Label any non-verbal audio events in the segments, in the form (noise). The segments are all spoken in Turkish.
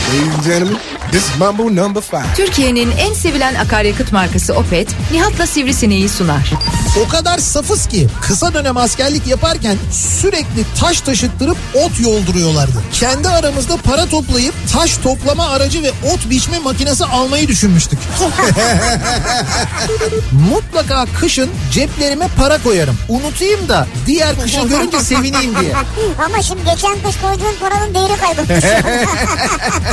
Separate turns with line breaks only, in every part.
Ladies and gentlemen, this is Mambo number five.
Türkiye'nin en sevilen akaryakıt markası Opet, Nihat'la Sivrisineği sunar.
O kadar safız ki kısa dönem askerlik yaparken sürekli taş taşıttırıp ot yolduruyorlardı. Kendi aramızda para toplayıp taş toplama aracı ve ot biçme makinesi almayı düşünmüştük. Mutlaka kışın ceplerime para koyarım. Unutayım da diğer kışı görünce sevineyim diye.
(laughs) Ama şimdi geçen kış koyduğun paranın değeri kaybolmuş.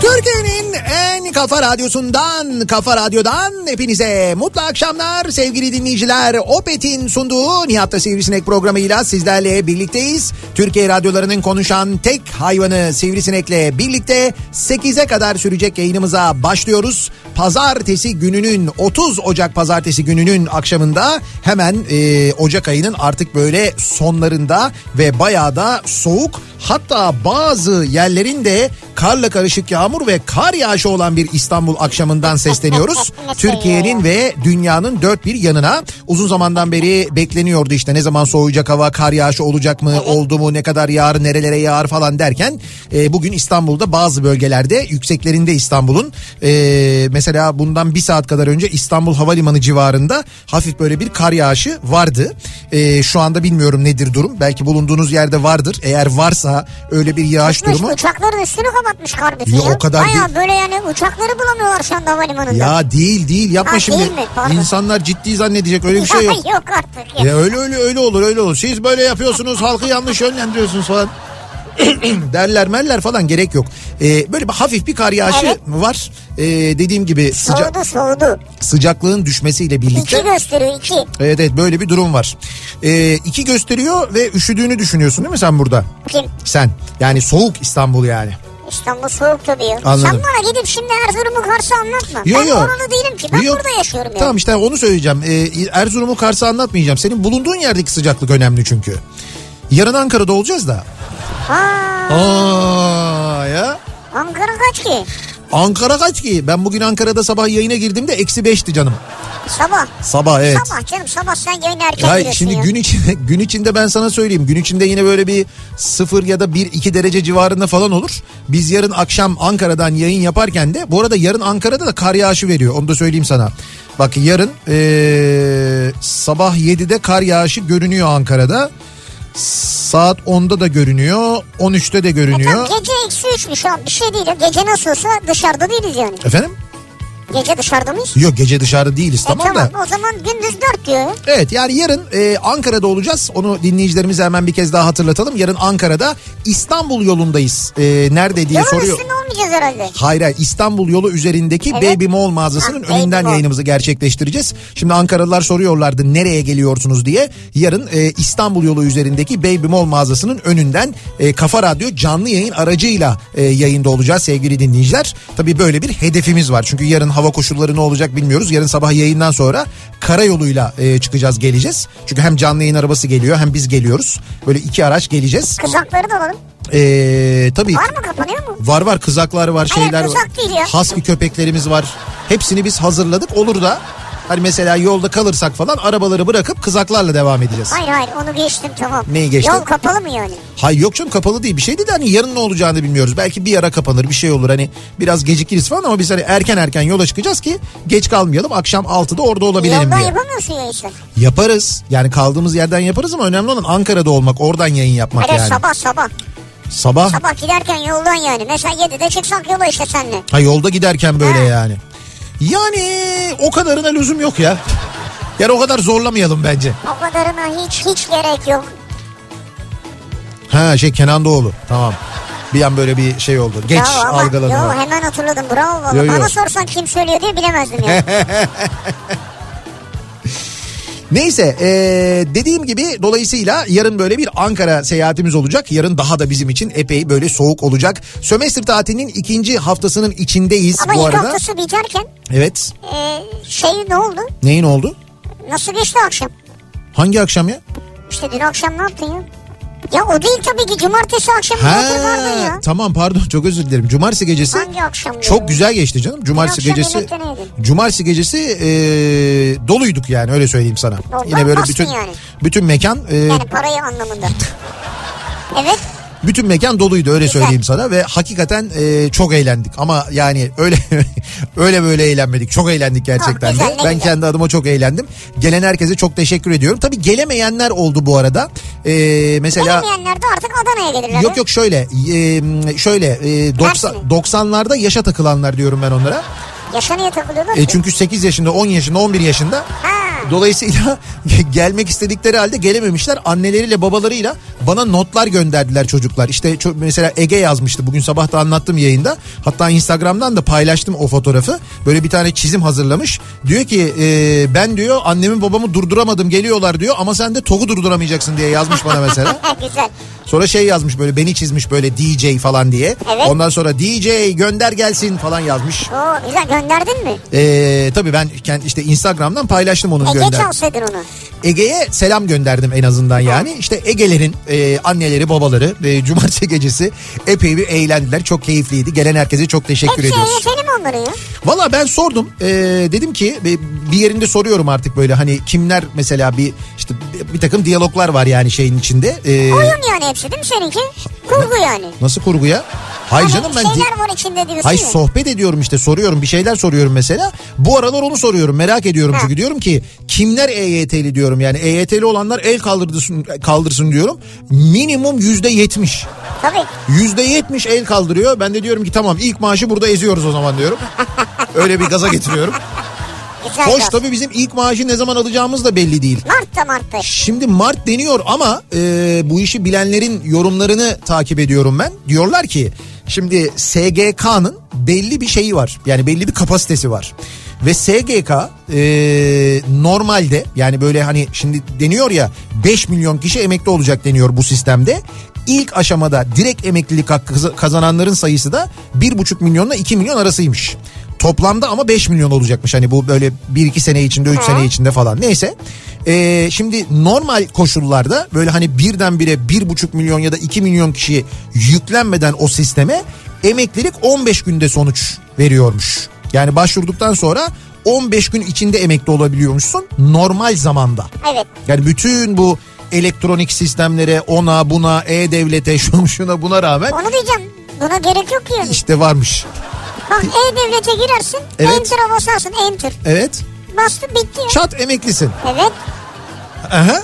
Türkiye'nin en kafa radyosundan, kafa radyodan hepinize mutlu akşamlar sevgili dinleyiciler. Opet'in sunduğu Nihat'ta Sivrisinek programıyla sizlerle birlikteyiz. Türkiye radyolarının konuşan tek hayvanı Sivrisinek'le birlikte 8'e kadar sürecek yayınımıza başlıyoruz. Pazartesi gününün 30 Ocak pazartesi gününün akşamında hemen e, Ocak ayının artık böyle sonlarında ve bayağı da soğuk hatta bazı yerlerin de karla karışık yağmur ve kar yağışı olan bir İstanbul akşamından sesleniyoruz. Türkiye'nin ve dünyanın dört bir yanına uzun zamandan beri bekleniyordu işte ne zaman soğuyacak hava kar yağışı olacak mı oldu mu ne kadar yağar nerelere yağar falan derken e, bugün İstanbul'da bazı bölgelerde yükseklerinde İstanbul'un e, mesela bundan bir saat kadar önce İstanbul Havalimanı civarında hafif böyle bir kar yağışı vardı. E, şu anda bilmiyorum nedir durum belki bulunduğunuz yerde vardır eğer varsa öyle bir yağış
Tutmuş,
durumu.
Uçakların üstünü kapatmış kar bütün
Ya o kadar
Baya
değil.
böyle yani uçakları bulamıyorlar şu anda havalimanında.
Ya değil değil yapma
Ha,
şimdi.
değil mi? Pardon.
İnsanlar ciddi zannedecek öyle bir şey yok.
(laughs) yok artık ya.
ya öyle öyle öyle olur öyle olur. Siz böyle yapıyorsunuz halkı yanlış yönlendiriyorsunuz falan. (clears throat) derler merler falan gerek yok. Ee, böyle bir hafif bir kar yağışı
Evet.
var. Ee, dediğim gibi sıca-
Soğudu soğudu.
sıcaklığın düşmesiyle birlikte.
İki gösteriyor iki.
Evet evet böyle bir durum var. Ee, iki gösteriyor ve üşüdüğünü düşünüyorsun değil mi sen burada?
Kim?
Sen yani soğuk İstanbul yani.
İstanbul soğuk tabii ya.
Anladım.
Sen bana gidip şimdi Erzurum'u Kars'ı anlatma.
Yo,
ben
yo.
oralı değilim ki. Ben
Yok.
burada yaşıyorum yani.
Tamam işte onu söyleyeceğim. Ee, Erzurum'u Kars'ı anlatmayacağım. Senin bulunduğun yerdeki sıcaklık önemli çünkü. Yarın Ankara'da olacağız da.
Aa,
Aa ya.
Ankara kaç ki?
Ankara kaç ki? Ben bugün Ankara'da sabah yayına girdiğimde eksi beşti canım.
Sabah.
Sabah evet.
Sabah canım sabah sen yayın erken
Ya
giriyorsun
şimdi
ya.
gün içinde, (laughs) gün içinde ben sana söyleyeyim. Gün içinde yine böyle bir sıfır ya da bir iki derece civarında falan olur. Biz yarın akşam Ankara'dan yayın yaparken de bu arada yarın Ankara'da da kar yağışı veriyor. Onu da söyleyeyim sana. Bak yarın ee, sabah 7'de kar yağışı görünüyor Ankara'da. Saat 10'da da görünüyor. 13'te de
Tam
görünüyor.
gece eksi üçmüş abi bir şey değil. ya. Gece nasıl olsa dışarıda değiliz yani.
Efendim?
Gece dışarıda mıyız?
Yok gece dışarıda değiliz
E,
tamam da.
o zaman gündüz dört diyor.
Evet yani yarın e, Ankara'da olacağız. Onu dinleyicilerimize hemen bir kez daha hatırlatalım. Yarın Ankara'da İstanbul yolundayız. E, nerede diye
Yolun
soruyor.
üstünde olmayacağız herhalde.
Hayır hayır İstanbul yolu üzerindeki
Evet.
Baby Mall mağazasının
Ha, Baby
önünden
Mall.
yayınımızı gerçekleştireceğiz. Şimdi Ankaralılar soruyorlardı nereye geliyorsunuz diye. Yarın e, İstanbul yolu üzerindeki Baby Mall mağazasının önünden e, Kafa Radyo canlı yayın aracıyla e, yayında olacağız sevgili dinleyiciler. Tabii böyle bir hedefimiz var. Çünkü yarın hava koşulları ne olacak bilmiyoruz. Yarın sabah yayından sonra karayoluyla e, çıkacağız geleceğiz. Çünkü hem canlı yayın arabası geliyor hem biz geliyoruz. Böyle iki araç geleceğiz.
Kızakları da alalım.
E, tabii
Var mı kapanıyor mu?
Var var kızaklar var
Hayır,
şeyler var.
kızak değil ya.
Husky köpeklerimiz var. Hepsini biz hazırladık. Olur da hani mesela yolda kalırsak falan arabaları bırakıp kızaklarla devam edeceğiz.
Hayır hayır onu geçtim tamam.
Neyi geçtin?
Yol kapalı mı yani?
Hayır yok canım kapalı değil bir şey değil de hani yarın ne olacağını bilmiyoruz. Belki bir ara kapanır bir şey olur hani biraz gecikiriz falan ama biz hani erken erken yola çıkacağız ki geç kalmayalım. Akşam 6'da orada olabilelim
Yoldan
diye.
yapamıyorsun ya işte.
Yaparız yani kaldığımız yerden yaparız ama önemli olan Ankara'da olmak oradan yayın yapmak
Hayır
yani.
sabah sabah.
Sabah.
Sabah giderken yoldan yani. Mesela 7'de çıksak yola işte senle.
Ha yolda giderken böyle yani. Yani o kadarına lüzum yok ya. Yani o kadar zorlamayalım bence.
O kadarına hiç hiç gerek yok.
Ha şey Kenan Doğulu tamam. Bir an böyle bir şey oldu. Geç
Ya ama-
algıladım.
Yo
ben.
hemen hatırladım bravo valla.
Yo, yo.
Bana sorsan kim söylüyor diye bilemezdim ya.
Neyse ee, dediğim gibi dolayısıyla yarın böyle bir Ankara seyahatimiz olacak. Yarın daha da bizim için epey böyle soğuk olacak. Sömestr tatilinin ikinci haftasının içindeyiz (laughs)
ama
bu
ilk
arada.
haftası biterken
Evet.
e, şey ne oldu?
Neyin oldu?
Nasıl geçti akşam?
Hangi akşam ya?
İşte dün akşam ne yaptın ya? Ya o değil tabii ki cumartesi akşam
Ha,
ne vardı ya?
tamam pardon çok özür dilerim. Cumartesi gecesi
Hangi akşam?
çok
ya?
güzel geçti canım. Cumartesi
akşam
gecesi
yemekte neydin?
Cumartesi gecesi ee, doluyduk yani öyle söyleyeyim sana.
Doldu,
Yine böyle
bastın
bütün
yani.
bütün mekan ee,
Yani parayı anlamında.
(laughs)
evet.
Bütün mekan doluydu öyle
Güzel.
söyleyeyim sana ve hakikaten e, çok eğlendik ama yani öyle (laughs) öyle böyle eğlenmedik çok eğlendik gerçekten
Ah, güzel,
de
ne
ben
güzel.
kendi adıma çok eğlendim gelen herkese çok teşekkür ediyorum tabi gelemeyenler oldu bu arada E, mesela
Bilemeyenler de artık Adana'ya gelirler.
yok yok şöyle e, şöyle e, 90
Dersin mi?
90'larda yaşa takılanlar diyorum ben onlara
Yaşa niye takılıyorlar
E,
ki?
çünkü 8 yaşında 10 yaşında 11 yaşında
Ha.
Dolayısıyla (laughs) gelmek istedikleri halde gelememişler. Anneleriyle babalarıyla bana notlar gönderdiler çocuklar. İşte ço- mesela Ege yazmıştı. Bugün sabah da anlattım yayında. Hatta Instagram'dan da paylaştım o fotoğrafı. Böyle bir tane çizim hazırlamış. Diyor ki e, ben diyor annemi babamı durduramadım geliyorlar diyor. Ama sen de toku durduramayacaksın diye yazmış bana mesela.
Ha, güzel.
Sonra şey yazmış böyle beni çizmiş böyle DJ falan diye.
Evet.
Ondan sonra DJ gönder gelsin falan yazmış.
Oo, güzel gönderdin mi?
E, tabii ben kend- işte Instagram'dan paylaştım onun
E, geç
gönder.
alsaydın onu.
Ege'ye selam gönderdim en azından yani. İşte Ege'lerin e, anneleri babaları e, cumartesi gecesi epey bir eğlendiler. Çok keyifliydi. Gelen herkese çok teşekkür
Hepsi
ediyoruz.
eğletelim onları ya.
Valla ben sordum. E, dedim ki e, bir yerinde soruyorum artık böyle hani kimler mesela bir işte bir- bir takım diyaloglar var yani şeyin içinde. E,
Oyun yani hepsi değil mi seninki? Kurgu yani.
nasıl kurguya? Hayır
Hani
canım ben di-
şeyler var içinde diyorsun
Hayır
ya.
sohbet ediyorum işte soruyorum bir şeyler soruyorum mesela. Bu aralar onu soruyorum merak ediyorum
Ha.
çünkü diyorum ki kimler EYT'li diyorum yani EYT'li olanlar el kaldırsın, kaldırsın diyorum. Minimum yüzde yetmiş.
Tabii.
Yüzde yetmiş el kaldırıyor. Ben de diyorum ki tamam ilk maaşı burada eziyoruz o zaman diyorum. Öyle bir gaza getiriyorum.
Güzel.
Hoş
laf.
tabii bizim ilk maaşı ne zaman alacağımız da belli değil.
Mart'ta Mart'ta.
Şimdi Mart deniyor ama e, bu işi bilenlerin yorumlarını takip ediyorum ben. Diyorlar ki şimdi SGK'nın belli bir şeyi var. Yani belli bir kapasitesi var. Ve SGK e, normalde yani böyle hani şimdi deniyor ya 5 milyon kişi emekli olacak deniyor bu sistemde. İlk aşamada direkt emeklilik hakkı kazananların sayısı da 1,5 milyonla 2 milyon arasıymış. Toplamda ama 5 milyon olacakmış. Hani bu böyle 1-2 sene içinde 3 sene içinde falan. Neyse. Ee, şimdi normal koşullarda böyle hani birdenbire 1,5 milyon ya da 2 milyon kişi yüklenmeden o sisteme emeklilik 15 günde sonuç veriyormuş. Yani başvurduktan sonra 15 gün içinde emekli olabiliyormuşsun normal zamanda.
Evet.
Yani bütün bu elektronik sistemlere ona buna e-devlete (laughs) şuna şuna buna rağmen
Onu diyeceğim. Buna gerek yok ki yani.
işte varmış.
Bak E-Devlet'e girersin.
Evet.
Enter'a basarsın. Enter.
Evet
Bastı bitti ya.
çat emeklisin.
Evet.
Aha.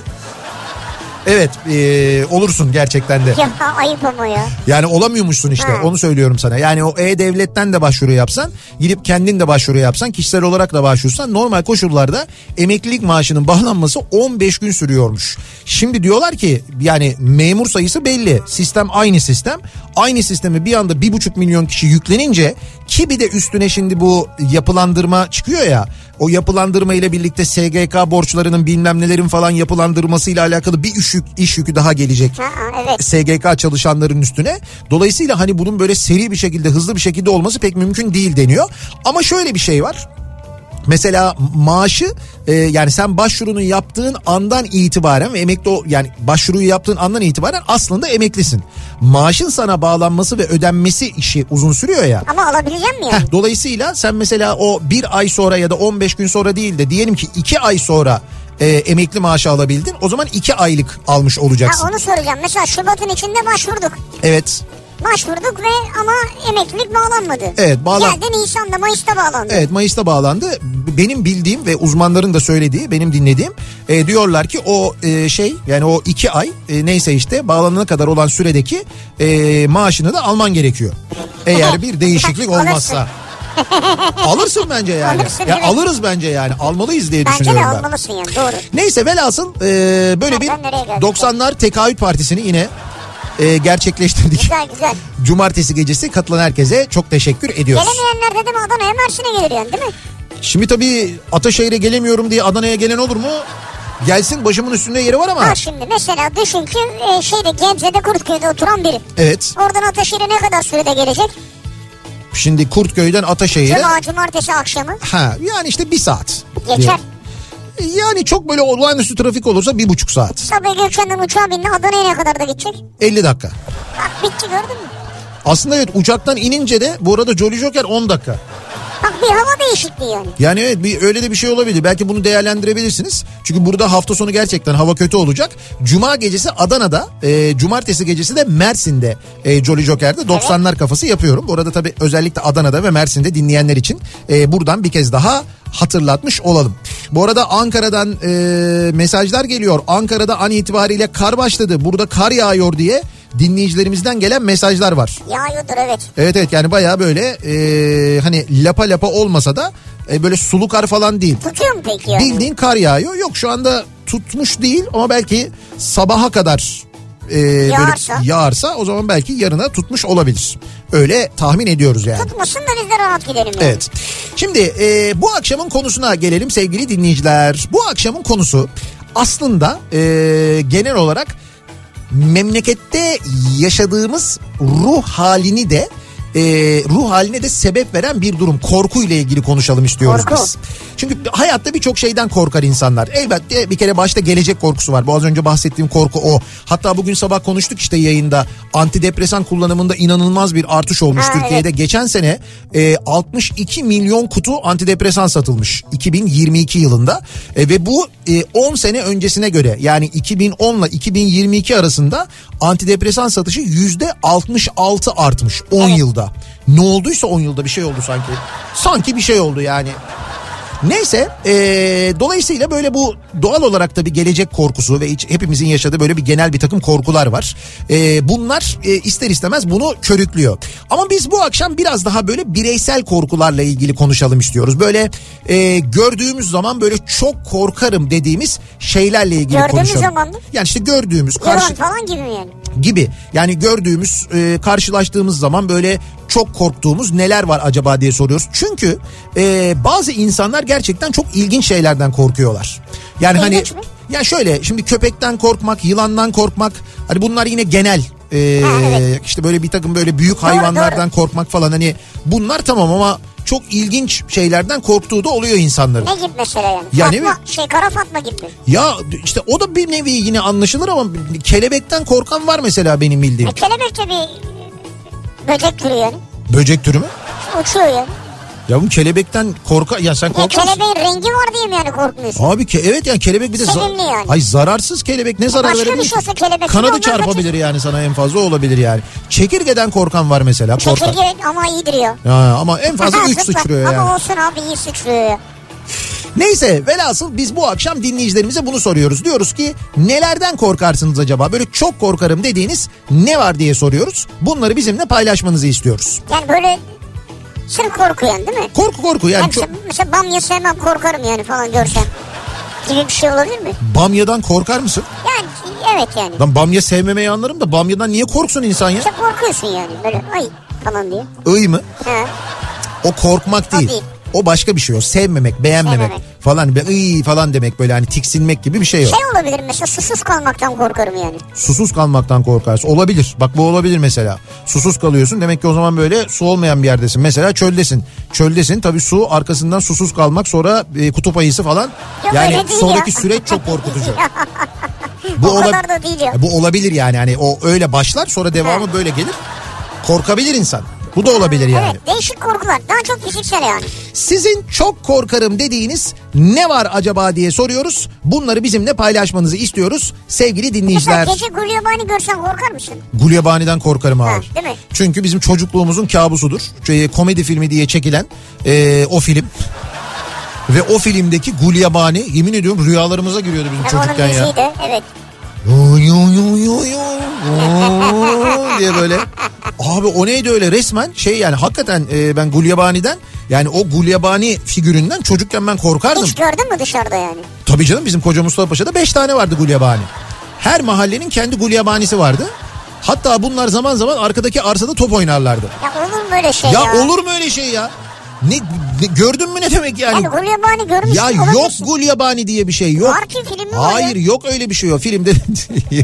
Evet ee, olursun gerçekten de.
Ya ayıp ama ya.
Yani olamıyormuşsun işte
Ha.
onu söylüyorum sana. Yani o E-Devlet'ten de başvuru yapsan gidip kendin de başvuru yapsan kişisel olarak da başvursan normal koşullarda emeklilik maaşının bağlanması 15 gün sürüyormuş. Şimdi diyorlar ki yani memur sayısı belli sistem aynı sistem aynı sistemi bir anda 1,5 milyon kişi yüklenince ki bir de üstüne şimdi bu yapılandırma çıkıyor ya o yapılandırma ile birlikte SGK borçlarının bilmem nelerin falan yapılandırmasıyla alakalı bir iş, yük, iş yükü daha gelecek.
Ha, ha, evet.
SGK çalışanların üstüne. Dolayısıyla hani bunun böyle seri bir şekilde hızlı bir şekilde olması pek mümkün değil deniyor. Ama şöyle bir şey var. Mesela maaşı e, yani sen başvurunu yaptığın andan itibaren ve emekli ol- yani başvuruyu yaptığın andan itibaren aslında emeklisin. Maaşın sana bağlanması ve ödenmesi işi uzun sürüyor ya.
Ama alabileceğim mi yani?
Heh, dolayısıyla sen mesela o bir ay sonra ya da 15 gün sonra değil de diyelim ki iki ay sonra e, emekli maaşı alabildin. O zaman iki aylık almış olacaksın.
Ha, onu soracağım. Mesela Şubat'ın içinde başvurduk.
Evet.
Başvurduk ve ama emeklilik bağlanmadı.
Evet, bağlan-
Geldi Nisan'da Mayıs'ta bağlandı.
Evet Mayıs'ta bağlandı. B- Benim bildiğim ve uzmanların da söylediği, benim dinlediğim e, diyorlar ki o e, şey yani o iki ay e, neyse işte bağlanana kadar olan süredeki e, maaşını da alman gerekiyor. Eğer bir değişiklik
Alırsın.
olmazsa. Alırsın bence yani.
Alırsın,
ya
evet.
alırız bence yani. Almalıyız diye
Bence de
düşünüyorum ben.
almalısın yani doğru.
Neyse velhasıl e, böyle bir
Nereden nereye geldik?
90'lar tekahüt partisini yine e, gerçekleştirdik.
Güzel güzel.
Cumartesi gecesi katılan herkese çok teşekkür ediyoruz.
Gelemeyenler dedim Adana'ya Mersin'e gelir yani değil mi?
Şimdi tabii Ataşehir'e gelemiyorum diye Adana'ya gelen olur mu? Gelsin başımın üstünde yeri var ama.
Bak şimdi mesela düşün ki e, şeyde Gebze'de Kurtköy'de oturan biri.
Evet.
Oradan Ataşehir'e ne kadar sürede gelecek?
Şimdi Kurtköy'den Ataşehir'e.
Cuma, cumartesi akşamı.
Ha, yani işte bir saat.
Geçer.
Yani çok böyle olağanüstü trafik olursa bir buçuk saat.
Sabah Gökçen'den uçağa bindi Adana'ya ne kadar da gidecek?
50 dakika.
Bak bitti gördün mü?
Aslında evet uçaktan inince de bu arada Jolly Joker 10 dakika.
Bak bir hava değişikliği yani.
Yani evet bir, öyle de bir şey olabilir. Belki bunu değerlendirebilirsiniz. Çünkü burada hafta sonu gerçekten hava kötü olacak. Cuma gecesi Adana'da, e, cumartesi gecesi de Mersin'de e, Jolly Joker'de 90'lar kafası yapıyorum. Orada tabii özellikle Adana'da ve Mersin'de dinleyenler için e, buradan bir kez daha hatırlatmış olalım. Bu arada Ankara'dan e, mesajlar geliyor. Ankara'da an itibariyle kar başladı. Burada kar yağıyor diye dinleyicilerimizden gelen mesajlar var.
Yağıyordur evet.
Evet evet yani bayağı böyle e, hani lapa lapa olmasa da e, böyle sulu kar falan değil.
Tutuyor mu peki yani?
Bildiğin kar yağıyor. Yok şu anda tutmuş değil ama belki sabaha kadar e,
Yağarsa.
böyle yağarsa o zaman belki yarına tutmuş olabilir. Öyle tahmin ediyoruz yani.
Tutmasın da biz de rahat gidelim yani.
Evet. Şimdi e, bu akşamın konusuna gelelim sevgili dinleyiciler. Bu akşamın konusu aslında e, genel olarak memlekette yaşadığımız ruh halini de e, ruh haline de sebep veren bir durum. Korku ile ilgili konuşalım istiyoruz
Korku.
biz. Çünkü hayatta birçok şeyden korkar insanlar. Elbette bir kere başta gelecek korkusu var. Bu az önce bahsettiğim korku o. Hatta bugün sabah konuştuk işte yayında antidepresan kullanımında inanılmaz bir artış olmuş
Ha,
Türkiye'de. Geçen sene e, 62 milyon kutu antidepresan satılmış 2022 yılında E, ve bu e, 10 sene öncesine göre yani 2010 ile 2022 arasında antidepresan satışı yüzde 66 artmış 10 yılda. Ne olduysa 10 yılda bir şey oldu sanki. Sanki bir şey oldu yani. Neyse eee, dolayısıyla böyle bu doğal olarak da bir gelecek korkusu ve hiç- hepimizin yaşadığı böyle bir genel bir takım korkular var. Eee, bunlar eee, ister istemez bunu körüklüyor. Ama biz bu akşam biraz daha böyle bireysel korkularla ilgili konuşalım istiyoruz. Böyle eee, gördüğümüz zaman böyle çok korkarım dediğimiz şeylerle ilgili
Gördüğümüz
konuşalım.
zaman mı?
Yani işte gördüğümüz
Yalan
karşı
falan gibi mi yani?
gibi yani gördüğümüz e, karşılaştığımız zaman böyle çok korktuğumuz neler var acaba diye soruyoruz. Çünkü e, bazı insanlar gerçekten çok ilginç şeylerden korkuyorlar. Yani hani
İlginç mi?
ya şöyle şimdi köpekten korkmak, yılandan korkmak hani bunlar yine genel e, işte böyle bir takım böyle büyük hayvanlardan korkmak falan hani bunlar tamam ama çok ilginç şeylerden korktuğu da oluyor insanların.
Ne gibi mesela yani?
Ya ne
Fatma,
bileyim.
şey Kara Fatma gibi.
Ya işte o da bir nevi yine anlaşılır ama kelebekten korkan var mesela benim bildiğim.
E, kelebek de bir e, böcek türü yani.
Böcek türü mü?
Uçuyor yani.
Ya bu kelebekten korka ya sen
Ya
korkar mısın?
kelebeğin rengi var diye mi yani korkmuyorsun?
Abi ke evet yani kelebek bir de zar-
Sevimli yani.
Ay zararsız kelebek ne zarar
Başka bir
verebilir?
şey olsa kelebek gibi
Kanadı
ondan
çarpabilir yani sana en fazla olabilir yani. Çekirgeden korkan var mesela korkar.
Çekirge ama iyidir ya.
Ha, ama en fazla
(laughs)
3
Zıplar.
sıçrıyor yani.
Ama olsun abi iyi sıçrıyor ya.
Neyse velhasıl biz bu akşam dinleyicilerimize bunu soruyoruz. Diyoruz ki nelerden korkarsınız acaba? Böyle çok korkarım dediğiniz ne var diye soruyoruz. Bunları bizimle paylaşmanızı istiyoruz.
Yani böyle sırf korku yani değil mi?
Korku korku yani
Yani
çok...
mesela, mesela bamya sevmem korkarım yani falan görsem. Gibi bir şey olabilir mi?
Bamyadan korkar mısın?
Yani evet yani.
Lan bamya sevmemeyi anlarım da bamyadan niye korksun insan ya?
İşte korkuyorsun yani böyle ay falan diye.
Iy mı?
Ha.
O korkmak
O
değil.
değil.
O başka bir şey o. Sevmemek, beğenmemek
Sevmemek.
falan. Be, "Iy" falan demek böyle hani tiksinmek gibi bir şey yok.
Şey olabilir mesela susuz kalmaktan korkarım yani.
Susuz kalmaktan korkarsın. Olabilir. Bak bu olabilir mesela. Susuz kalıyorsun. Demek ki o zaman böyle su olmayan bir yerdesin. Mesela çöldesin. Çöldesin. Tabii su arkasından susuz kalmak sonra e, kutup ayısı falan.
Yok,
yani
öyle değil
sonraki
ya.
süreç çok
(laughs)
korkutucu.
Bu
bu
o
ola-
kadar da değil ya.
Bu olabilir yani. Hani o öyle başlar sonra devamı böyle gelir. Korkabilir insan. Bu da olabilir yani.
Evet değişik korkular. Daha çok fiziksel yani.
Sizin çok korkarım dediğiniz ne var acaba diye soruyoruz. Bunları bizimle paylaşmanızı istiyoruz sevgili
Mesela
dinleyiciler.
gece gulyabani görsen korkar mısın?
Gulyabani'den korkarım abi.
değil mi?
Çünkü bizim çocukluğumuzun kabusudur. Şey, komedi filmi diye çekilen e, o film. Ve o filmdeki Gulyabani yemin ediyorum rüyalarımıza giriyordu bizim
Hem onun
çocukken ya.
müziği de evet.
Yo, yo, yo, yo, yo, yo diye böyle. Abi o neydi öyle resmen şey yani hakikaten e, ben Gulyabani'den yani o Gulyabani figüründen çocukken ben korkardım.
Hiç gördün mü dışarıda yani?
Tabii canım bizim koca Mustafa Paşa'da 5 tane vardı gulyabani. Her mahallenin kendi gulyabanisi vardı. Hatta bunlar zaman zaman arkadaki arsada top oynarlardı.
Ya olur mu öyle şey
Ya,
ya?
olur mu öyle şey ya? Ne, ne- gördün mü ne demek yani?
Abi gulyabani görmüşsün
ya yok
olabilirsin.
gulyabani diye bir şey yok.
Var ki filmi var
Hayır
ya.
yok öyle bir şey yok. Filmde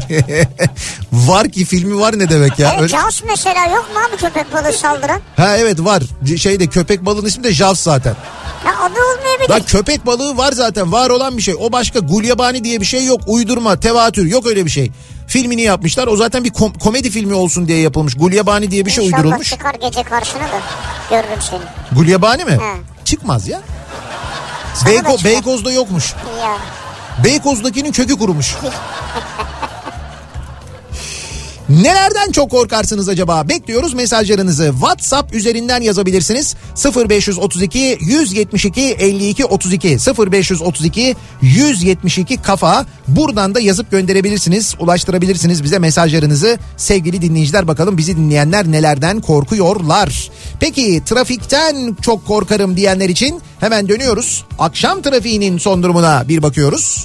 (laughs) var ki filmi var ne demek ya?
Evet
Öyle-
Jaws mesela yok mu abi köpek balığı saldıran?
Ha evet var. C- Şeyde köpek balığının ismi de Jaws zaten.
Ya adı olmayabilir.
Lan köpek balığı var zaten var olan bir şey. O başka gulyabani diye bir şey yok. Uydurma, tevatür yok öyle bir şey. Filmini yapmışlar. O zaten bir kom- komedi filmi olsun diye yapılmış. Gulyabani diye bir şey
İnşallah
uydurulmuş.
çıkar gece karşına da görürüm seni.
Gulyabani mi?
He.
Çıkmaz ya.
da
Beyko-
çıkar.
Beykoz'da yokmuş.
Ya.
Beykoz'dakinin kökü kurumuş. Nelerden çok korkarsınız acaba? Bekliyoruz mesajlarınızı. WhatsApp üzerinden yazabilirsiniz. 0532 172 52 32 0532 172 kafa. Buradan da yazıp gönderebilirsiniz. Ulaştırabilirsiniz bize mesajlarınızı. Sevgili dinleyiciler bakalım bizi dinleyenler nelerden korkuyorlar. Peki trafikten çok korkarım diyenler için hemen dönüyoruz. Akşam trafiğinin son durumuna bir bakıyoruz.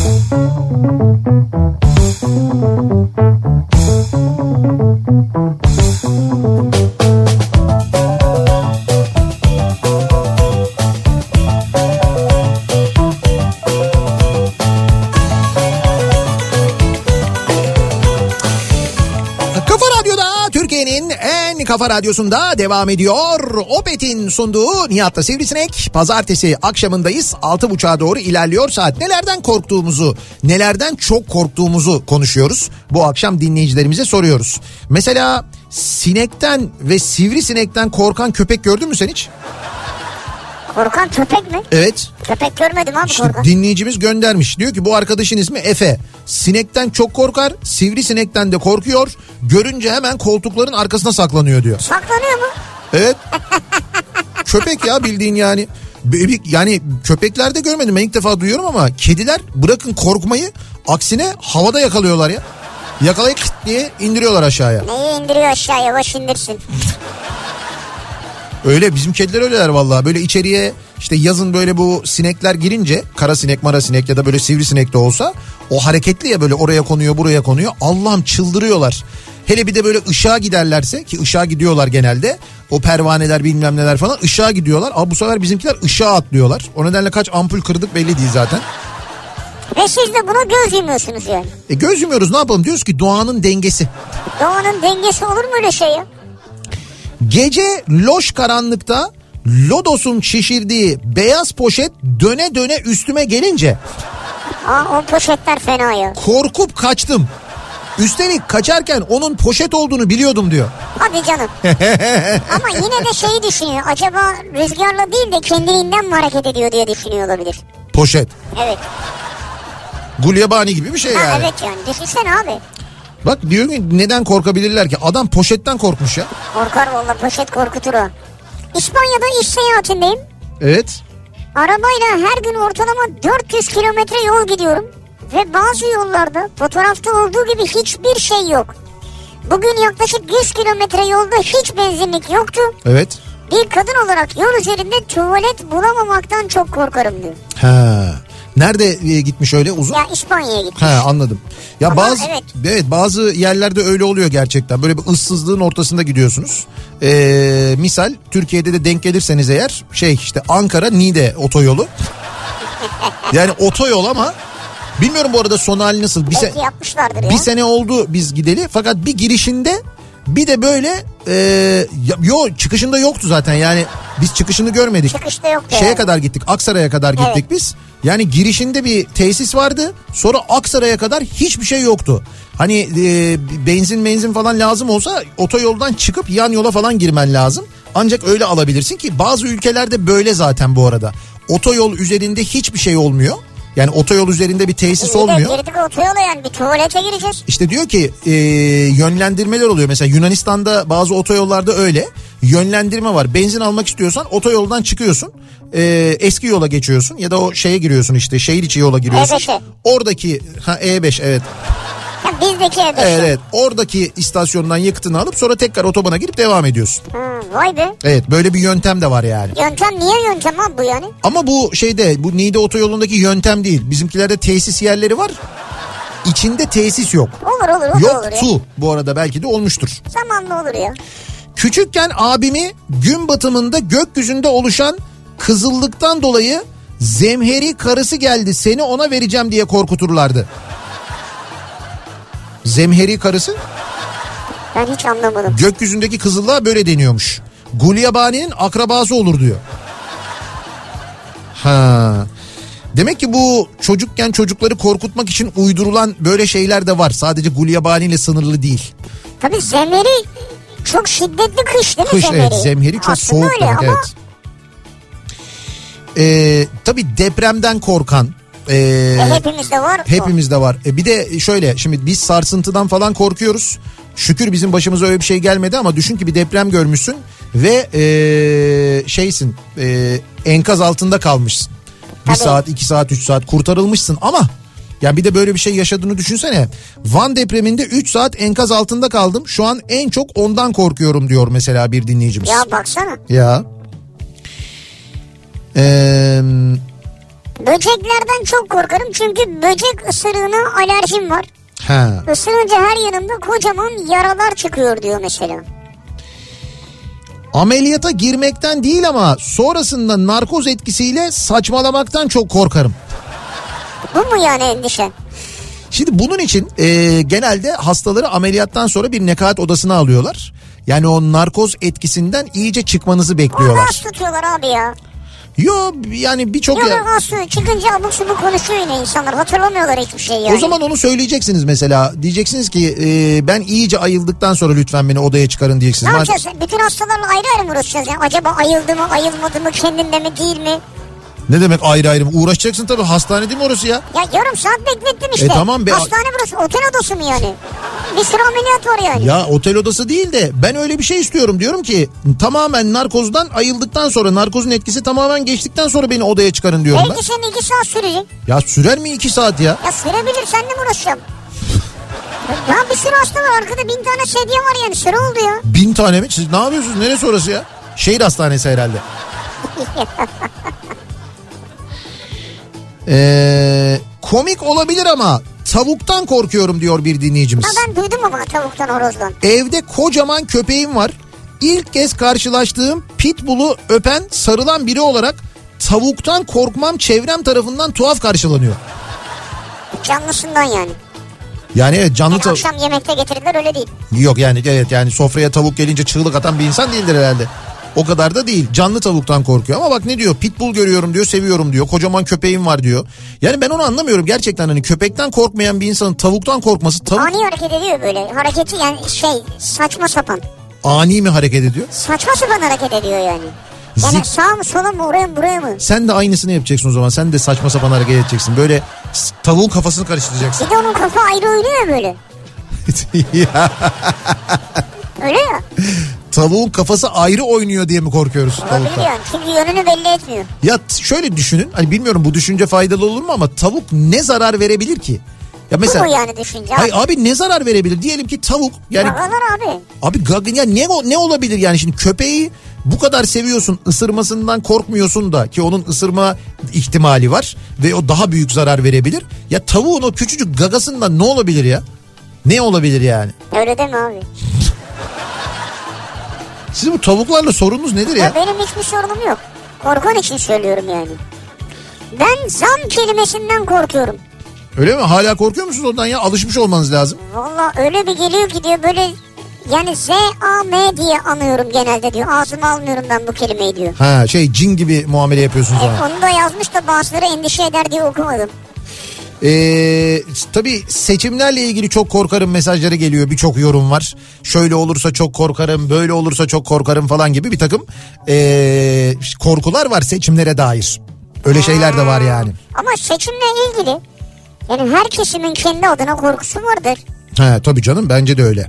Kafa Radyo'da Türkiye'nin en kafa radyosunda devam ediyor. Opet'in sunduğu Nihat'la Sivrisinek. Pazartesi akşamındayız. 6.30'a doğru ilerliyor saat. Nelerden korktuğumuzu, nelerden çok korktuğumuzu konuşuyoruz. Bu akşam dinleyicilerimize soruyoruz. Mesela sinekten ve sivrisinekten korkan köpek gördün mü sen hiç?
Korkan köpek mi?
Evet.
Köpek görmedim abi
İşte
korkan.
dinleyicimiz göndermiş. Diyor ki bu arkadaşın ismi Efe. Sinekten çok korkar, sivrisinekten de korkuyor. Görünce hemen koltukların arkasına saklanıyor diyor.
Saklanıyor mu?
Evet. (laughs) Köpek ya bildiğin yani. Bebek- Yani köpeklerde görmedim ben ilk defa duyuyorum ama kediler bırakın korkmayı aksine havada yakalıyorlar ya. Yakalayıp kıt diye indiriyorlar aşağıya.
Neyi indiriyor aşağı yavaş indirsin.
Öyle bizim kediler öyleler vallahi. Böyle içeriye işte yazın böyle bu sinekler girince kara sinek mara sinek ya da böyle sivrisinek de olsa o hareketli ya böyle oraya konuyor buraya konuyor. Allah'ım çıldırıyorlar. Hele bir de böyle ışığa giderlerse ki ışığa gidiyorlar genelde. O pervaneler bilmem neler falan ışığa gidiyorlar. Ama bu sefer bizimkiler ışığa atlıyorlar. O nedenle kaç ampul kırdık belli değil zaten.
Ve siz de buna göz yumuyorsunuz yani.
E göz yumuyoruz ne yapalım diyoruz ki doğanın dengesi.
Doğanın dengesi olur mu öyle şey ya?
Gece loş karanlıkta Lodos'un şişirdiği beyaz poşet döne döne üstüme gelince
Aa o poşetler fena ya.
korkup kaçtım. Üstelik kaçarken onun poşet olduğunu biliyordum diyor.
Hadi
(laughs)
canım. Ama yine de şeyi düşünüyor. Acaba rüzgarla değil de kendiliğinden mi hareket ediyor diye düşünüyor olabilir.
Poşet.
Evet.
Gulyabani gibi bir şey
Ha,
yani.
evet yani. Düşünsene abi.
Bak diyor ki neden korkabilirler ki? Adam poşetten korkmuş ya.
Korkar valla poşet korkutur o. İspanya'da iş seyahatindeyim.
Evet.
Arabayla her gün ortalama 400 kilometre yol gidiyorum. Ve bazı yollarda fotoğrafta olduğu gibi hiçbir şey yok. Bugün yaklaşık 100 kilometre yolda hiç benzinlik yoktu.
Evet.
Bir kadın olarak yol üzerinde tuvalet bulamamaktan çok korkarım diyor.
Ha. Nerede e, gitmiş öyle uzun?
Ya İspanya'ya gitmiş.
He anladım. Ya
Ama
bazı evet.
evet.
bazı yerlerde öyle oluyor gerçekten. Böyle bir ıssızlığın ortasında gidiyorsunuz. Ee, misal Türkiye'de de denk gelirseniz eğer şey işte Ankara Niğde otoyolu. yani otoyol ama bilmiyorum bu arada son hali nasıl. Bir, se-
Belki yapmışlardır ya.
bir sene oldu biz gideli fakat bir girişinde bir de böyle e, ya- yo çıkışında yoktu zaten yani biz çıkışını görmedik.
Çıkışta yoktu
Şeye
yani.
kadar gittik Aksaray'a kadar gittik
Evet.
biz. Yani girişinde bir tesis vardı sonra Aksaray'a kadar hiçbir şey yoktu. Hani e, benzin benzin falan lazım olsa otoyoldan çıkıp yan yola falan girmen lazım. Ancak öyle alabilirsin ki bazı ülkelerde böyle zaten bu arada. Otoyol üzerinde hiçbir şey olmuyor. Yani otoyol üzerinde bir tesis
İyi de
olmuyor.
girdik otoyola yani bir tuvalete gireceğiz.
İşte diyor ki e, yönlendirmeler oluyor. Mesela Yunanistan'da bazı otoyollarda öyle yönlendirme var. Benzin almak istiyorsan otoyoldan çıkıyorsun. e, eski yola geçiyorsun ya da o şeye giriyorsun işte şehir içi yola giriyorsun.
E5'e.
Oradaki ha, E5 evet.
Ya bizdeki evde.
Evet, evet. Oradaki istasyondan yakıtını alıp sonra tekrar otobana girip devam ediyorsun.
Ha, vay be.
Evet böyle bir yöntem de var yani.
Yöntem niye yöntem abi bu yani?
Ama bu şeyde bu Niğde otoyolundaki yöntem değil. Bizimkilerde tesis yerleri var. İçinde tesis yok.
Olur olur o da olur ya.
Yoktu bu arada belki de olmuştur.
Zamanla olur ya.
Küçükken abimi gün batımında gökyüzünde oluşan kızıllıktan dolayı zemheri karısı geldi seni ona vereceğim diye korkuturlardı. Zemheri karısı
Ben hiç anlamadım.
gökyüzündeki kızıllığa böyle deniyormuş. Gulyabani'nin akrabası olur diyor. Ha. Demek ki bu çocukken çocukları korkutmak için uydurulan böyle şeyler de var. Sadece Gulyabani ile sınırlı değil.
Tabii zemeri çok şiddetli kış değil mi
Kış
zemeri?
evet zemheri çok
Aslında
soğuk
öyle
demek
ama
evet. Ee, tabii depremden korkan ee,
e, hepimizde var. bu.
hepimizde var. E, bir de şöyle şimdi biz sarsıntıdan falan korkuyoruz. Şükür bizim başımıza öyle bir şey gelmedi ama düşün ki bir deprem görmüşsün ve ee, şeysin ee, enkaz altında kalmışsın. Bir
Tabii.
saat, iki saat, üç saat kurtarılmışsın ama ya bir de böyle bir şey yaşadığını düşünsene. Van depreminde 3 saat enkaz altında kaldım. Şu an en çok ondan korkuyorum diyor mesela bir dinleyicimiz.
Ya baksana.
Ya. Ee,
Böceklerden çok korkarım çünkü böcek ısırığına alerjim var.
ha.
Isırınca her yanımda kocaman yaralar çıkıyor diyor mesela.
Ameliyata girmekten değil ama sonrasında narkoz etkisiyle saçmalamaktan çok korkarım.
Bu mu yani endişe?
Şimdi bunun için e, genelde hastaları ameliyattan sonra bir nekaat odasına alıyorlar. Yani o narkoz etkisinden iyice çıkmanızı
Onu
bekliyorlar.
az tutuyorlar abi ya.
Yo yani birçok
Yok
yer-
yok az tutuyor. Çıkınca abuk subuk konuşuyor yine insanlar. Hatırlamıyorlar hiçbir şey yani.
O zaman onu söyleyeceksiniz mesela. Diyeceksiniz ki e, ben iyice ayıldıktan sonra lütfen beni odaya çıkarın
ne
diyeceksiniz. Ben-
yapacağız? Bütün hastalarla ayrı ayrı mı uğraşacağız? Yani acaba ayıldı mı, ayılmadı mı, kendinde mi, değil mi?
Ne demek ayrı ayrı mı? Uğraşacaksın tabii hastane değil mi orası ya?
Ya yarım saat beklettim işte.
E tamam be-
Hastane burası, otel odası mı yani? Bir sürü ameliyat var yani.
Ya otel odası değil de ben öyle bir şey istiyorum. Diyorum ki tamamen narkozdan ayıldıktan sonra narkozun etkisi tamamen geçtikten sonra beni odaya çıkarın diyorum ben.
Belki senin iki saat sürecek.
Ya sürer mi iki saat ya?
Ya sürebilir sen de mi uğraşacağım? ya bir sürü hasta var arkada bin tane sedye var yani süre oldu ya.
Bin tane mi? Siz ne yapıyorsunuz? Neresi orası ya? Şehir hastanesi herhalde. Ee, komik olabilir ama tavuktan korkuyorum diyor bir dinleyicimiz.
Ha ben duydum ama tavuktan horozdan.
Evde kocaman köpeğim var. İlk kez karşılaştığım pitbull'u öpen, sarılan biri olarak tavuktan korkmam çevrem tarafından tuhaf karşılanıyor.
Canlısından yani.
Yani evet canlı
Yani
tavuk.
akşam yemekte getirdiler öyle değil.
Yok yani evet yani sofraya tavuk gelince çığlık atan bir insan değildir herhalde. O kadar da değil. Canlı tavuktan korkuyor ama bak ne diyor? Pitbull görüyorum diyor, seviyorum diyor. Kocaman köpeğim var diyor. Yani ben onu anlamıyorum gerçekten hani köpekten korkmayan bir insanın tavuktan korkması tavuk
Ani hareket ediyor böyle. Hareketi yani şey saçma sapan.
ani mi hareket ediyor?
Saçma sapan hareket ediyor yani. Yani
Zik-
sağa mı sola mı oraya mı buraya mı?
Sen de aynısını yapacaksın o zaman. Sen de saçma sapan hareket edeceksin. Böyle s- tavuğun kafasını karıştıracaksın. (laughs)
Bir de onun kafa ayrı oynuyor böyle.
Ya,
Öyle ya.
tavuğun kafası ayrı oynuyor diye mi korkuyoruz
Olabilir
tavuktan?
yani. Çünkü yönünü belli etmiyor.
Ya t- şöyle düşünün. Hani bilmiyorum bu düşünce faydalı olur mu ama tavuk ne zarar verebilir ki? Ya
Bu
mesela
mu yani düşünce?
Hayır abi ne zarar verebilir? Diyelim ki tavuk yani
Babalar abi.
abi gagın ya ne o- ne olabilir yani şimdi köpeği bu kadar seviyorsun ısırmasından korkmuyorsun da ki onun ısırma ihtimali var ve o daha büyük zarar verebilir. Ya tavuğun o küçücük gagasından ne olabilir ya? Ne olabilir yani?
Öyle deme abi.
Siz bu tavuklarla sorununuz nedir
Ya
ya?
benim hiçbir sorunum yok. Korkan için söylüyorum yani. Ben zam kelimesinden korkuyorum.
Öyle mi? Hala korkuyor musunuz ondan ya? Alışmış olmanız lazım.
Valla öyle bir geliyor ki diyor böyle yani Z A M diye anıyorum genelde diyor. Ağzıma almıyorum ben bu kelimeyi diyor. E,
Ha şey cin gibi muamele yapıyorsunuz ona.
Onu da yazmış da bazıları endişe eder diye okumadım.
Ee, tabii seçimlerle ilgili çok korkarım mesajları geliyor. Birçok yorum var. Şöyle olursa çok korkarım, böyle olursa çok korkarım falan gibi bir takım ee, korkular var seçimlere dair. Öyle şeyler de var yani.
Ama seçimle ilgili yani her kesimin kendi adına korkusu vardır.
He, tabii canım bence de öyle.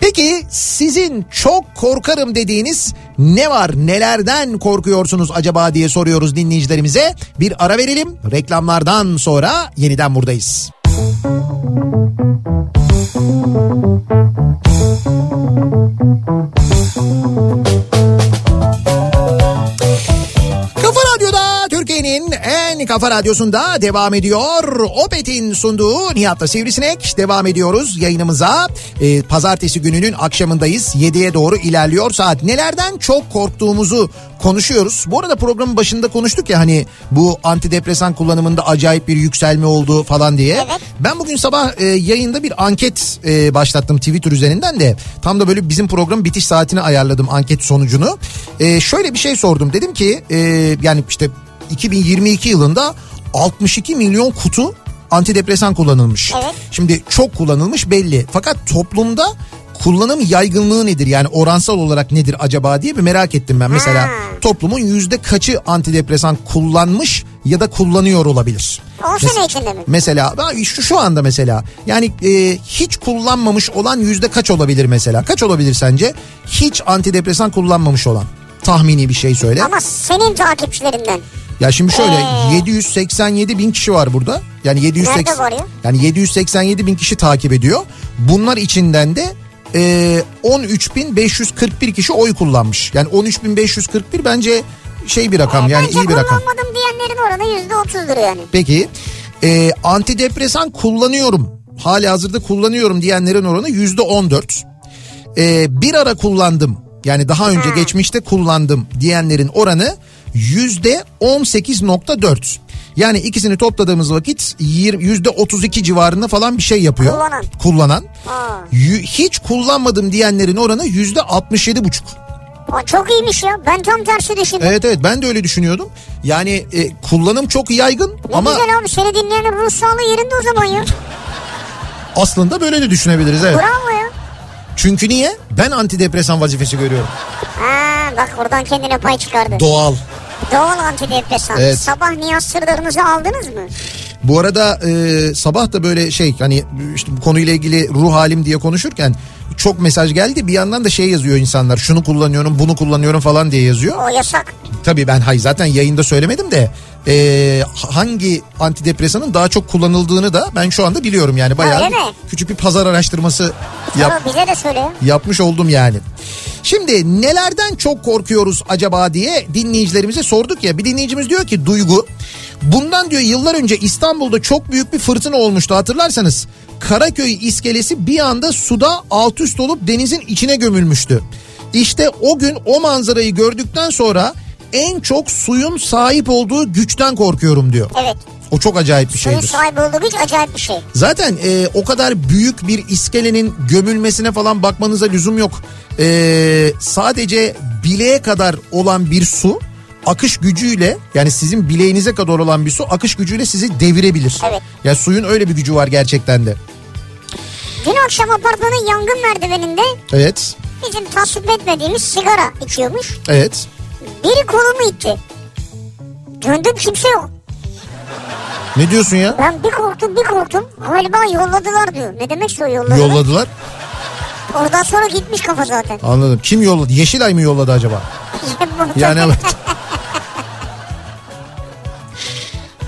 Peki sizin çok korkarım dediğiniz ne var nelerden korkuyorsunuz acaba diye soruyoruz dinleyicilerimize. Bir ara verelim reklamlardan sonra yeniden buradayız. Kafa Radyo'da Türkiye'nin en kafa radyosunda devam ediyor. Opet'in sunduğu Nihat'la Sivrisinek devam ediyoruz yayınımıza. Ee, pazartesi gününün akşamındayız. 7'ye doğru ilerliyor saat. Nelerden çok korktuğumuzu konuşuyoruz. Bu arada programın başında konuştuk ya hani bu antidepresan kullanımında acayip bir yükselme oldu falan diye. Ben bugün sabah e, yayında bir anket e, başlattım Twitter üzerinden de. Tam da böyle bizim program bitiş saatini ayarladım anket sonucunu. E, şöyle bir şey sordum. Dedim ki e, yani işte 2022 yılında 62 milyon kutu antidepresan kullanılmış.
Evet.
Şimdi çok kullanılmış belli. Fakat toplumda kullanım yaygınlığı nedir? Yani oransal olarak nedir acaba diye bir merak ettim ben. Mesela toplumun yüzde kaçı antidepresan kullanmış ya da kullanıyor olabilir?
10 sene içinde mi?
Mesela ben şu, şu anda mesela yani e, hiç kullanmamış olan yüzde kaç olabilir mesela? Kaç olabilir sence? Hiç antidepresan kullanmamış olan tahmini bir şey söyle.
Ama senin takipçilerinden.
Ya şimdi şöyle 787 bin kişi var burada. Yani 780
Ee. Nerede var ya?
yani 787 bin kişi takip ediyor. Bunlar içinden de e, 13.541 kişi oy kullanmış. Yani 13.541 bence şey bir rakam yani
Ee, Bence
iyi bir rakam.
kullanmadım diyenlerin oranı %30'dur yani.
Peki e, antidepresan kullanıyorum. Hali hazırda kullanıyorum diyenlerin oranı yüzde 14. E, bir ara kullandım yani daha önce geçmişte kullandım diyenlerin oranı yüzde 18.4. Yani ikisini topladığımız vakit yir- yüzde 32 civarında falan bir şey yapıyor.
Kullanan.
Kullanan.
Aa.
Yü- Hiç kullanmadım diyenlerin oranı yüzde 67.5.
O çok iyiymiş ya. Ben tam tersi düşündüm.
Evet evet ben de öyle düşünüyordum. Yani e, kullanım çok yaygın
ne
E, ama
güzel abi seni dinleyenin ruh sağlığı yerinde o zaman ya.
aslında böyle de düşünebiliriz evet.
Bravo ya.
Çünkü niye? Ben antidepresan vazifesi görüyorum.
Ha, bak oradan kendine pay çıkardı.
Doğal.
Doğal antidepresan.
Evet.
Sabah niyaz sırlarınızı aldınız mı?
Bu arada e, sabah da böyle şey hani işte bu konuyla ilgili ruh halim diye konuşurken çok mesaj geldi. Bir yandan da şey yazıyor insanlar. Şunu kullanıyorum, bunu kullanıyorum falan diye yazıyor.
O yasak.
Tabii ben hayır zaten yayında söylemedim de e, hangi antidepresanın daha çok kullanıldığını da ben şu anda biliyorum yani bayağı
Öyle mi?
küçük bir pazar araştırması yap,
Ama bize de söyle. ya.
yapmış oldum yani. Şimdi nelerden çok korkuyoruz acaba diye dinleyicilerimize sorduk ya. Bir dinleyicimiz diyor ki Duygu bundan diyor yıllar önce İstanbul'da çok büyük bir fırtına olmuştu hatırlarsanız. Karaköy iskelesi bir anda suda alt üst olup denizin içine gömülmüştü. İşte o gün o manzarayı gördükten sonra en çok suyun sahip olduğu güçten korkuyorum diyor.
Evet.
O çok acayip bir
Suyun
şeydir.
sahibi olduğu hiç acayip bir şey.
Zaten e, o kadar büyük bir iskelenin gömülmesine falan bakmanıza lüzum yok. E, sadece bileğe kadar olan bir su akış gücüyle yani sizin bileğinize kadar olan bir su akış gücüyle sizi devirebilir.
Evet.
Yani suyun öyle bir gücü var gerçekten de.
Dün akşam apartmanın yangın merdiveninde
Evet.
bizim tasvip etmediğimiz sigara içiyormuş.
Evet.
Biri kolumu itti. Döndüm kimse yok.
Ne diyorsun ya?
Ben bir korktum bir korktum. Galiba yolladılar diyor. Ne demek istiyor yolladılar?
Yolladılar.
Oradan sonra gitmiş kafa zaten. (laughs)
Anladım. Kim yolladı? Yeşilay mı yolladı acaba? Yani evet.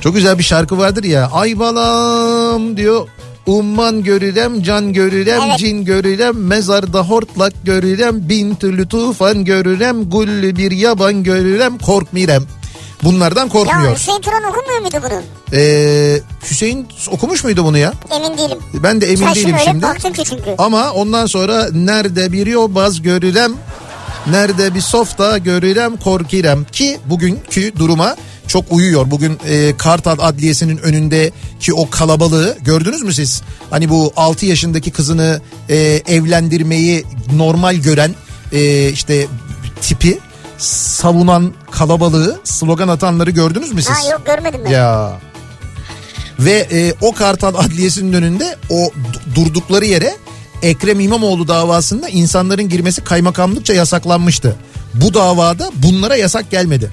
Çok güzel bir şarkı vardır ya. Ay balam diyor. Umman görürem, can görürem,
Evet.
cin görürem, mezarda hortlak görürem, bin türlü tufan görürem, güllü bir yaban görürem, korkmirem. Bunlardan
ya
korkmuyor.
Hüseyin Turan okumuyor muydu bunu?
Ee, Hüseyin okumuş muydu bunu ya?
Emin değilim.
Ben de emin
Sen
değilim
şimdi öyle
şimdi.
baktın ki çünkü.
Ama ondan sonra nerede bir yobaz görürem, nerede bir softa görürem korkirem ki bugünkü duruma çok uyuyor. Bugün e, Kartal Adliyesi'nin önündeki o kalabalığı gördünüz mü siz? Hani bu 6 yaşındaki kızını e, evlendirmeyi normal gören e, işte tipi savunan kalabalığı slogan atanları gördünüz mü siz?
Ha yok görmedim ben.
Ya. Ve e, o Kartal Adliyesi'nin önünde o du- durdukları yere Ekrem İmamoğlu davasında insanların girmesi kaymakamlıkça yasaklanmıştı. Bu davada bunlara yasak gelmedi.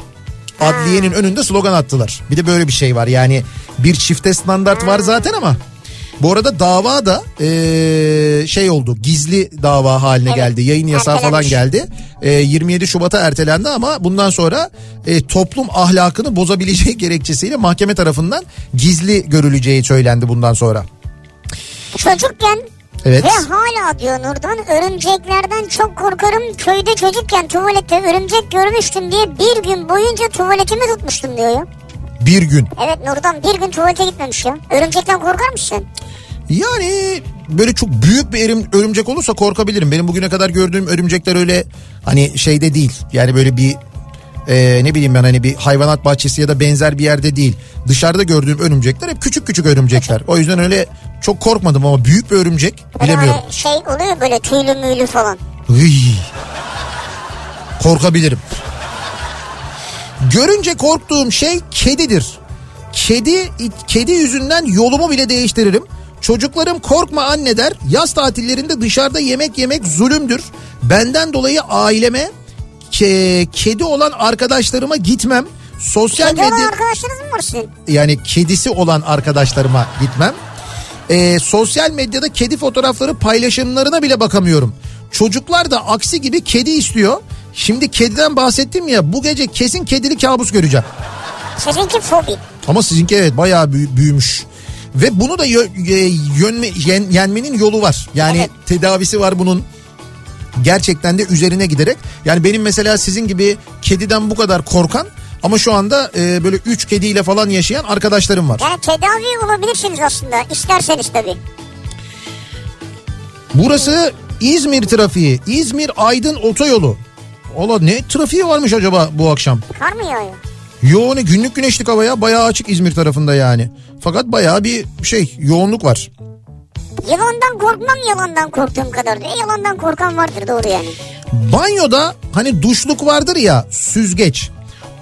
Adliyenin önünde slogan attılar. Bir de böyle bir şey var yani bir çifte standart var zaten ama bu arada dava da e, şey oldu gizli dava haline geldi. Yayın yasağı falan
ertelenmiş.
geldi geldi. E, 27 Şubat'a ertelendi ama bundan sonra e, toplum ahlakını bozabileceği (laughs) gerekçesiyle mahkeme tarafından gizli görüleceği söylendi bundan sonra.
Çocukken
Evet.
ve hala diyor Nurdan örümceklerden çok korkarım. Köyde çocukken tuvalette örümcek görmüştüm diye bir gün boyunca tuvaletimi tutmuştum diyor ya.
Bir gün.
Evet Nurdan bir gün tuvalete gitmemiş ya. Örümcekten korkar mısın?
Yani böyle çok büyük bir erim- örümcek olursa korkabilirim. Benim bugüne kadar gördüğüm örümcekler öyle hani şeyde değil. Yani böyle bir e, ne bileyim ben hani bir hayvanat bahçesi ya da benzer bir yerde değil. Dışarıda gördüğüm örümcekler hep küçük küçük örümcekler. O yüzden öyle çok korkmadım ama büyük bir örümcek
Böyle
bilemiyorum.
hani şey oluyor böyle tüylü müylü falan.
Hıy. Korkabilirim. Görünce korktuğum şey kedidir. Kedi kedi yüzünden yolumu bile değiştiririm. Çocuklarım korkma anne der. Yaz tatillerinde dışarıda yemek yemek zulümdür. Benden dolayı aileme ke- kedi olan arkadaşlarıma gitmem. Sosyal
Kedi olan
medya
arkadaşlarınız mı var sizin?
yani kedisi olan arkadaşlarıma gitmem. Ee, sosyal medyada kedi fotoğrafları paylaşımlarına bile bakamıyorum. Çocuklar da aksi gibi kedi istiyor. Şimdi kediden bahsettim ya bu gece kesin kedili kabus göreceğim.
Sizinki fobi.
Ama sizinki evet bayağı büyü- büyümüş. Ve bunu da yö- e, yönme, yen- yenmenin yolu var. Yani
Evet.
tedavisi var bunun. Gerçekten de üzerine giderek. Yani benim mesela sizin gibi kediden bu kadar korkan ama şu anda e, böyle 3 kediyle falan yaşayan arkadaşlarım var.
Yani tedavi olabilirsiniz aslında isterseniz tabii.
Burası İzmir trafiği. İzmir Aydın otoyolu. Ola ne trafiği varmış acaba bu akşam?
Kar mı yağıyor?
Yoğun günlük güneşlik havaya bayağı açık İzmir tarafında yani. Fakat bayağı bir şey yoğunluk var.
Yılandan korkmam yalandan korktuğum kadar diyor. E, yalandan korkan vardır doğru yani.
Banyoda hani duşluk vardır ya süzgeç.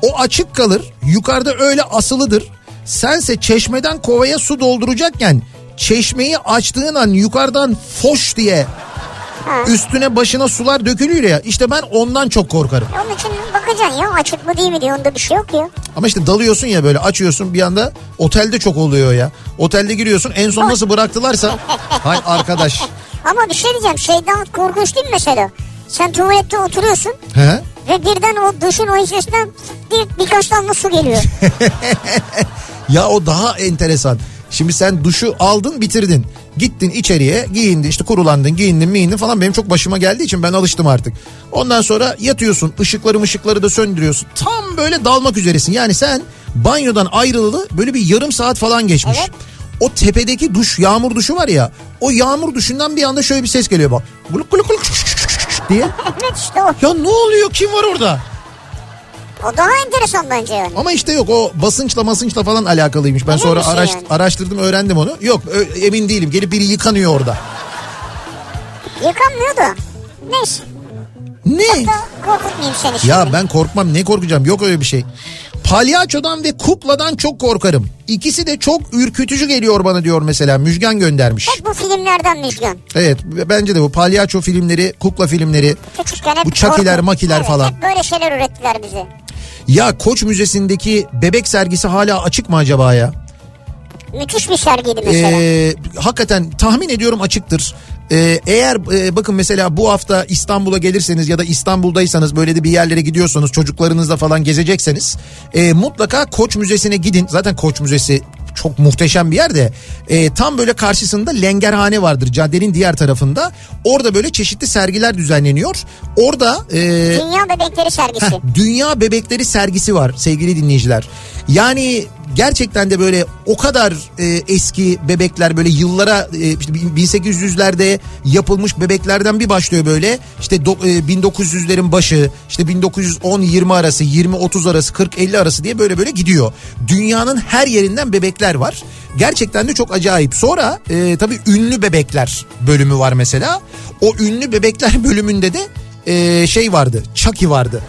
O açık kalır yukarıda öyle asılıdır. Sense çeşmeden kovaya su dolduracakken çeşmeyi açtığın an yukarıdan foş diye üstüne başına sular dökülüyor ya. İşte ben ondan çok korkarım.
E, Onun için bakacaksın ya açık mı değil mi diye onda bir şey yok ya.
Ama işte dalıyorsun ya böyle açıyorsun bir anda otelde çok oluyor ya. Otelde giriyorsun en son nasıl bıraktılarsa. Hay arkadaş.
Ama bir şey diyeceğim şeyden korkunç değil mi mesela? Sen tuvalette oturuyorsun
He?
ve birden o duşun o içerisinden bir, birkaç damla
(laughs)
su geliyor.
Ya o daha enteresan. Şimdi sen duşu aldın bitirdin. Gittin içeriye giyindin işte kurulandın giyindin miyindin falan benim çok başıma geldiği için ben alıştım artık. Ondan sonra yatıyorsun ışıkları ışıkları da söndürüyorsun. Tam böyle dalmak üzeresin. Yani sen banyodan ayrılalı böyle bir yarım saat falan geçmiş.
Evet.
O tepedeki duş yağmur duşu var ya o yağmur duşundan bir anda şöyle bir ses geliyor bak. Gluk gluk gluk diye.
evet işte o.
Ya ne oluyor kim var orada?
O daha enteresan bence yani.
Ama işte yok o basınçla masınçla falan alakalıymış. Ben
Öyle
sonra
bir şey
araş-
yani.
araştırdım öğrendim onu. Yok ö- emin değilim gelip biri yıkanıyor orada.
Yıkanmıyor da. Neyse.
Ne?
Da korkutmayayım seni şimdi.
Ya ben korkmam ne korkacağım yok öyle bir şey. Palyaçodan ve kukladan çok korkarım. İkisi de çok ürkütücü geliyor bana diyor mesela Müjgan göndermiş.
Hep bu filmlerden Müjgan.
Evet bence de bu palyaço filmleri, kukla filmleri.
Küçükken hep
Bu çakiler,
korkun-
makiler
Evet,
falan.
Hep böyle şeyler öğrettiler bize.
Ya Koç Müzesi'ndeki bebek sergisi hala açık mı acaba ya?
Müthiş bir sergiydi mesela.
Ee, hakikaten tahmin ediyorum açıktır. Ee, eğer e, bakın mesela bu hafta İstanbul'a gelirseniz ya da İstanbul'daysanız böyle de bir yerlere gidiyorsanız çocuklarınızla falan gezecekseniz e, mutlaka Koç Müzesi'ne gidin. Zaten Koç Müzesi çok muhteşem bir yer de e, tam böyle karşısında lengerhane vardır caddenin diğer tarafında. Orada böyle çeşitli sergiler düzenleniyor. Orada e,
Dünya Bebekleri sergisi.
Heh, Dünya Bebekleri sergisi var sevgili dinleyiciler. Yani gerçekten de böyle o kadar e, eski bebekler böyle yıllara e, işte 1800'lerde yapılmış bebeklerden bir başlıyor böyle. İşte do- e, 1900'lerin başı işte 1910-20 arası 20-30 arası 40-50 arası diye böyle böyle gidiyor. Dünyanın her yerinden bebekler var. Gerçekten de çok acayip. Sonra e, tabii ünlü bebekler bölümü var mesela. O ünlü bebekler (laughs) bölümünde de e, şey vardı. Chucky vardı.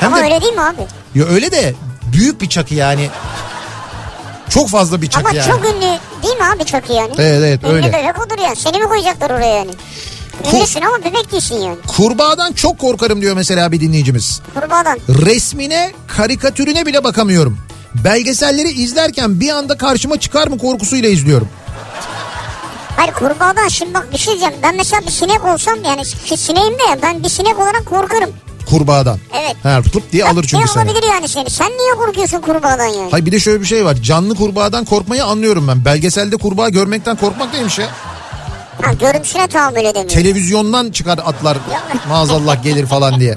Hem
Ama
de
öyle değil mi abi?
ya öyle de büyük bir çakı yani.
Çok fazla bir çakı
Ama
yani.
çok ünlü değil mi abi çakı yani?
Evet, evet,
Ünlü
öyle.
bebek odur yani. Seni mi koyacaklar oraya yani? Ünlüsün ama bebek değilsin yani.
Kurbağadan çok korkarım diyor mesela bir dinleyicimiz.
Kurbağadan.
Resmine, karikatürüne bile bakamıyorum. Belgeselleri izlerken bir anda karşıma çıkar mı korkusuyla izliyorum.
Hayır kurbağadan şimdi bak bir şey diyeceğim. Ben mesela bir sinek olsam yani ki sineğim de ben bir sinek olarak korkarım.
Kurbağadan.
Evet.
Ha, tıp diye alır çünkü
ne
seni.
olabilir yani seni? Sen niye korkuyorsun kurbağadan yani?
Hayır bir de şöyle bir şey var. Canlı kurbağadan korkmayı anlıyorum ben. Belgeselde kurbağa görmekten korkmak neymiş ya?
Ha, görüntüsüne tahammül edemiyor.
Televizyondan çıkar atlar maazallah gelir falan diye.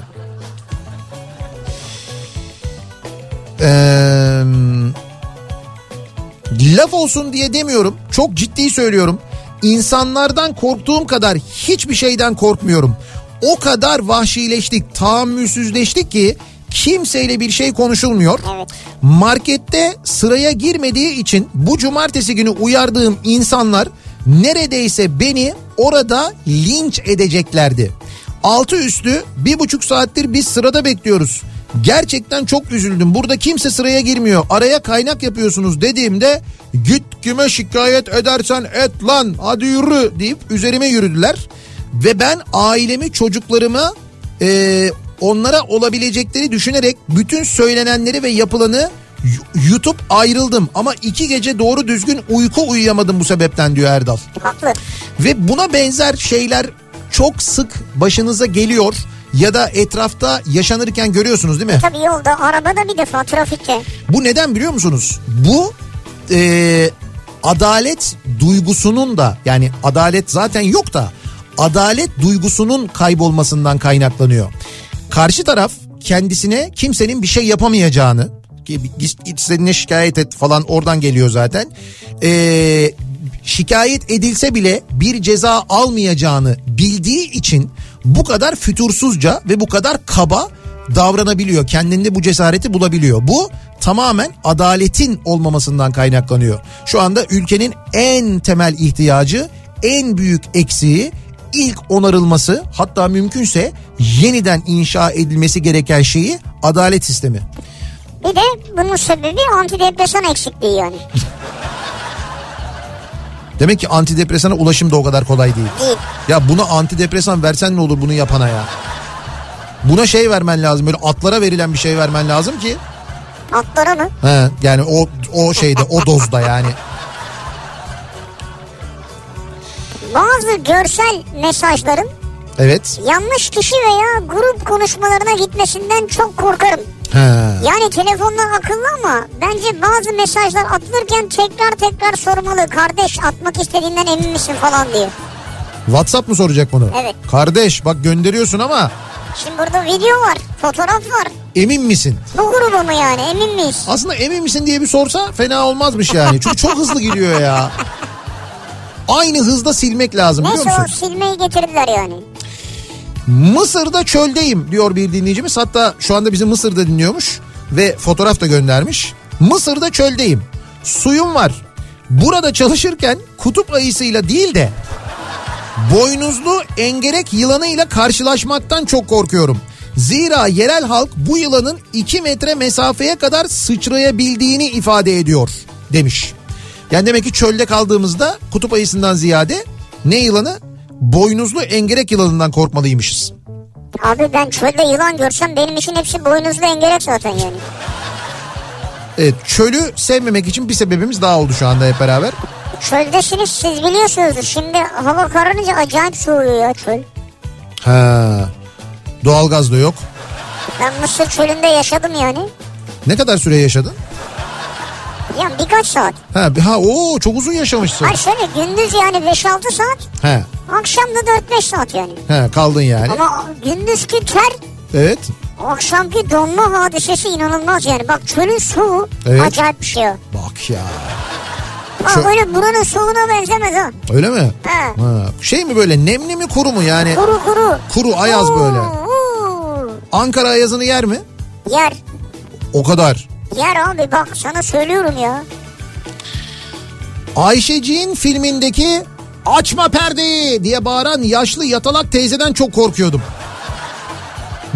Ee, laf olsun diye demiyorum. Çok ciddi söylüyorum. İnsanlardan korktuğum kadar hiçbir şeyden korkmuyorum. O kadar vahşileştik, tahammülsüzleştik ki kimseyle bir şey konuşulmuyor.
Evet.
Markette sıraya girmediği için bu cumartesi günü uyardığım insanlar neredeyse beni orada linç edeceklerdi. Altı üstü bir buçuk saattir biz sırada bekliyoruz. Gerçekten çok üzüldüm. Burada kimse sıraya girmiyor. Araya kaynak yapıyorsunuz dediğimde git kime şikayet edersen et lan hadi yürü deyip üzerime yürüdüler. Ve ben ailemi çocuklarımı ee, onlara olabilecekleri düşünerek bütün söylenenleri ve yapılanı y- yutup ayrıldım. Ama iki gece doğru düzgün uyku uyuyamadım bu sebepten diyor Erdal.
Haklı.
Ve buna benzer şeyler çok sık başınıza geliyor ya da etrafta yaşanırken görüyorsunuz değil mi?
Tabii yolda, arabada bir defa, trafikte.
Bu neden biliyor musunuz? Bu e, adalet duygusunun da yani adalet zaten yok da adalet duygusunun kaybolmasından kaynaklanıyor. Karşı taraf kendisine kimsenin bir şey yapamayacağını ki git- istediğine şikayet et falan oradan geliyor zaten. E, şikayet edilse bile bir ceza almayacağını bildiği için bu kadar fütursuzca ve bu kadar kaba davranabiliyor. Kendinde bu cesareti bulabiliyor. Bu tamamen adaletin olmamasından kaynaklanıyor. Şu anda ülkenin en temel ihtiyacı, en büyük eksiği ilk onarılması hatta mümkünse yeniden inşa edilmesi gereken şeyi adalet sistemi.
Bir de bunun sebebi antidepresan eksikliği yani.
Demek ki antidepresana ulaşım da o kadar kolay değil.
Değil.
Ya buna antidepresan versen ne olur bunu yapana ya? Buna şey vermen lazım böyle atlara verilen bir şey vermen lazım ki
Atlara mı?
He, yani o o şeyde o dozda yani.
Bazı görsel mesajların
Evet.
yanlış kişi veya grup konuşmalarına gitmesinden çok korkarım.
He.
Yani telefondan akıllı ama bence bazı mesajlar atılırken tekrar tekrar sormalı. Kardeş atmak istediğinden emin misin falan diye.
WhatsApp mı soracak bunu?
Evet.
Kardeş bak gönderiyorsun ama
Şimdi burada video var, fotoğraf var.
emin misin?
Bu gruba mı yani emin miyiz?
Aslında emin misin diye bir sorsa fena olmazmış yani. Çünkü çok hızlı gidiyor ya. Aynı hızda silmek lazım biliyor
Neyse o
musun?
silmeyi getirdiler yani.
Mısır'da çöldeyim diyor bir dinleyicimiz. Hatta şu anda bizi Mısır'da dinliyormuş ve fotoğraf da göndermiş. Mısır'da çöldeyim. Suyum var. Burada çalışırken kutup ayısıyla değil de boynuzlu engerek yılanıyla karşılaşmaktan çok korkuyorum. Zira yerel halk bu yılanın 2 metre mesafeye kadar sıçrayabildiğini ifade ediyor demiş. Yani demek ki çölde kaldığımızda kutup ayısından ziyade ne yılanı? Boynuzlu engerek yılanından korkmalıymışız.
Abi ben çölde yılan görsem benim için hepsi boynuzlu engerek zaten yani.
Evet çölü sevmemek için bir sebebimiz daha oldu şu anda hep beraber.
Çöldesiniz siz biliyorsunuzdur. Şimdi hava kararınca acayip soğuyor ya çöl.
Ha. Doğalgaz da yok.
Ben Mısır çölünde yaşadım yani.
Ne kadar süre yaşadın?
Ya birkaç saat.
Ha, bir- ha o çok uzun yaşamışsın.
Hayır şöyle gündüz yani 5-6 saat.
He.
Akşam da 4-5 saat yani.
He kaldın yani.
Ama gündüzki ter
Evet.
akşamki donma hadisesi inanılmaz yani. Bak çölün soğuğu
Evet.
acayip bir şey o.
Bak ya.
Aa,
Çö-
öyle buranın soğuğuna benzemez ha.
Öyle mi?
He.
Ha. Şey mi böyle nemli mi kuru mu yani?
Kuru kuru.
Kuru ayaz
Oo,
böyle.
oo.
Ankara ayazını yer mi?
Yer.
O kadar.
Yer abi bak sana söylüyorum ya.
Ayşeciğin filmindeki açma perdeyi diye bağıran yaşlı yatalak teyzeden çok korkuyordum.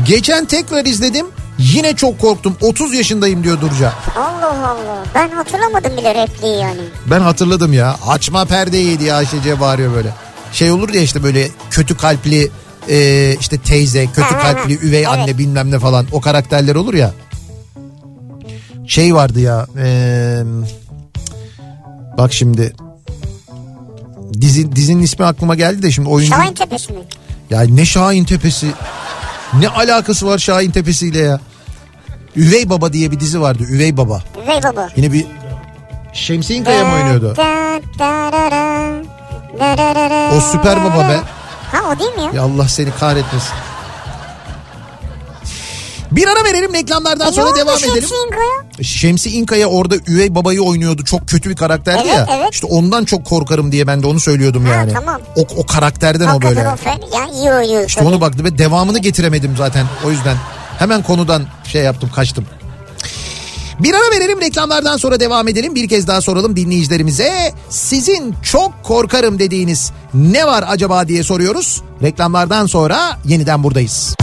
Geçen tekrar izledim. Yine çok korktum 30 yaşındayım diyor Durca.
Allah Allah. Ben hatırlamadım bile repliği yani.
Ben hatırladım ya. Açma perdeyi diye Ayşe C bağırıyor böyle. Şey olur ya işte böyle kötü kalpli e, işte teyze, kötü
Ha, ha, (laughs)
kalpli
ha.
üvey
Evet.
anne bilmem ne falan o karakterler olur ya. Şey vardı ya. e, bak şimdi. Dizi, dizinin ismi aklıma geldi de şimdi oyuncu.
Şahin Tepesi mi?
Ya ne Şahin Tepesi. Ne alakası var Şahin Tepesi ile ya? Üvey Baba diye bir dizi vardı. Üvey Baba.
Üvey baba.
Yine bir Şemsiye Kaya
Ee,
mı oynuyordu?
Da, da, da, da, da, da, da, da.
O Süper Baba be.
Ha o değil mi ya?
Ya Allah seni kahretmesin. Bir ara verelim reklamlardan
E, ne
sonra
oldu
devam
Şemsi
edelim.
İnko'ya?
Şemsi İnkaya orada üvey babayı oynuyordu. Çok kötü bir karakterdi
Evet,
ya.
evet.
İşte ondan çok korkarım diye ben de onu söylüyordum
Ha,
yani.
tamam.
O, o karakterden o böyle.
Hakikaten o fen- ya iyi oynuyor.
İşte onu baktı ve devamını getiremedim zaten. O yüzden hemen konudan şey yaptım kaçtım. Bir ara verelim reklamlardan sonra devam edelim. Bir kez daha soralım dinleyicilerimize. Sizin çok korkarım dediğiniz ne var acaba diye soruyoruz. Reklamlardan sonra yeniden buradayız.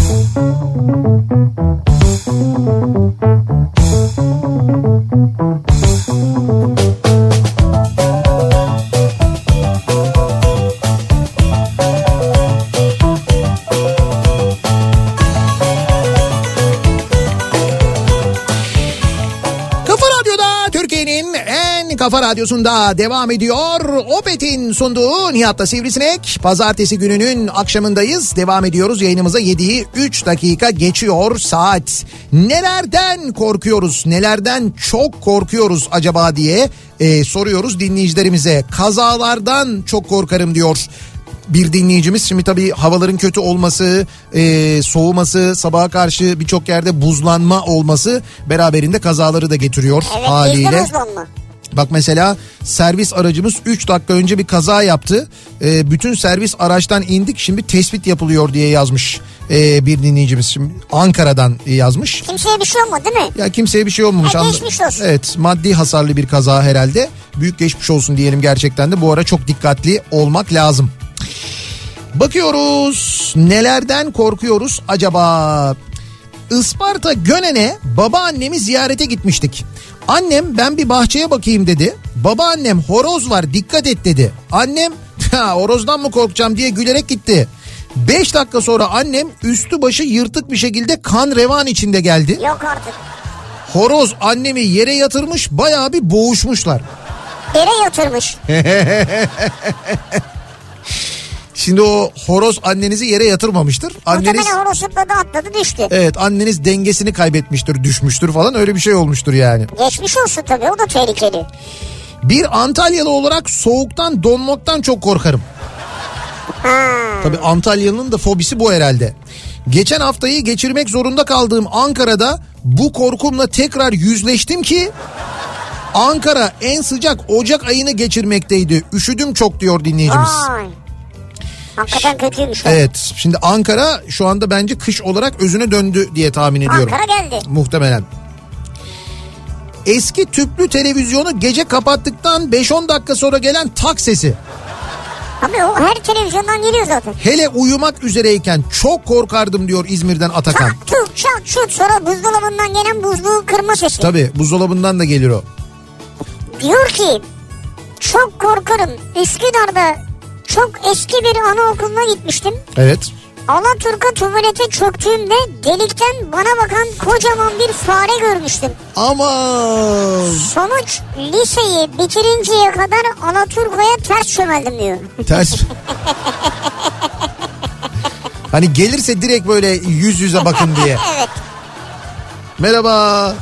Kafa Radyo'da Türkiye'nin en kafa radyosunda devam ediyor. Opet'in sunduğu Nihat'la Sivrisinek. Pazartesi gününün akşamındayız. Devam ediyoruz. Yayınımıza 7'yi 3 dakika geçiyor saat. Nelerden korkuyoruz? Nelerden çok korkuyoruz acaba diye e, soruyoruz dinleyicilerimize. Kazalardan çok korkarım diyor bir dinleyicimiz şimdi tabii havaların kötü olması, e, soğuması, sabaha karşı birçok yerde buzlanma olması beraberinde kazaları da getiriyor
Evet bizde
haliyle.
buzlanma.
Bak mesela servis aracımız 3 dakika önce bir kaza yaptı. E, bütün servis araçtan indik şimdi tespit yapılıyor diye yazmış e, bir dinleyicimiz. Şimdi Ankara'dan yazmış.
Kimseye bir şey olmadı değil mi?
Ya kimseye bir şey olmamış.
Ha,
Anla-
geçmiş olsun.
Evet maddi hasarlı bir kaza herhalde. Büyük geçmiş olsun diyelim gerçekten de bu ara çok dikkatli olmak lazım. Bakıyoruz nelerden korkuyoruz acaba? Isparta Gönen'e babaannemi ziyarete gitmiştik. Annem ben bir bahçeye bakayım dedi. Babaannem horoz var dikkat et dedi. Annem ha, horozdan mı korkacağım diye gülerek gitti. 5 dakika sonra annem üstü başı yırtık bir şekilde kan revan içinde geldi.
Yok artık.
Horoz annemi yere yatırmış bayağı bir boğuşmuşlar.
Yere yatırmış.
Şimdi o horoz annenizi yere yatırmamıştır. Anneniz
Muhtemelen horoz zıpladı atladı düştü.
evet anneniz dengesini kaybetmiştir, düşmüştür falan öyle bir şey olmuştur yani.
Geçmiş olsun tabii o da tehlikeli.
Bir Antalyalı olarak soğuktan, donmaktan çok korkarım. Tabii Antalyalı'nın da fobisi bu herhalde. Geçen haftayı geçirmek zorunda kaldığım Ankara'da bu korkumla tekrar yüzleştim ki Ankara en sıcak Ocak ayını geçirmekteydi. Üşüdüm çok diyor dinleyicimiz.
Vay. Hakikaten kötüymüş. o.
Evet. Şimdi Ankara şu anda bence kış olarak özüne döndü diye tahmin ediyorum.
Ankara geldi.
Muhtemelen. Eski tüplü televizyonu gece kapattıktan 5-10 dakika sonra gelen tak sesi.
Abi o her televizyondan geliyor zaten.
Hele uyumak üzereyken çok korkardım diyor İzmir'den
(laughs)
Atakan.
Tak tuk çak çut sonra buzdolabından gelen buzluğu kırma sesi.
Tabii buzdolabından da gelir o.
Diyor ki çok korkarım Üsküdar'da çok eski bir anaokuluna gitmiştim.
Evet.
Alaturka tuvalete çöktüğümde delikten bana bakan kocaman bir fare görmüştüm.
Ama
Sonuç liseyi bitirinceye kadar Alaturka'ya ters çömeldim diyor. (laughs)
ters. hani gelirse direkt böyle yüz yüze bakın diye.
(laughs) Evet
Merhaba.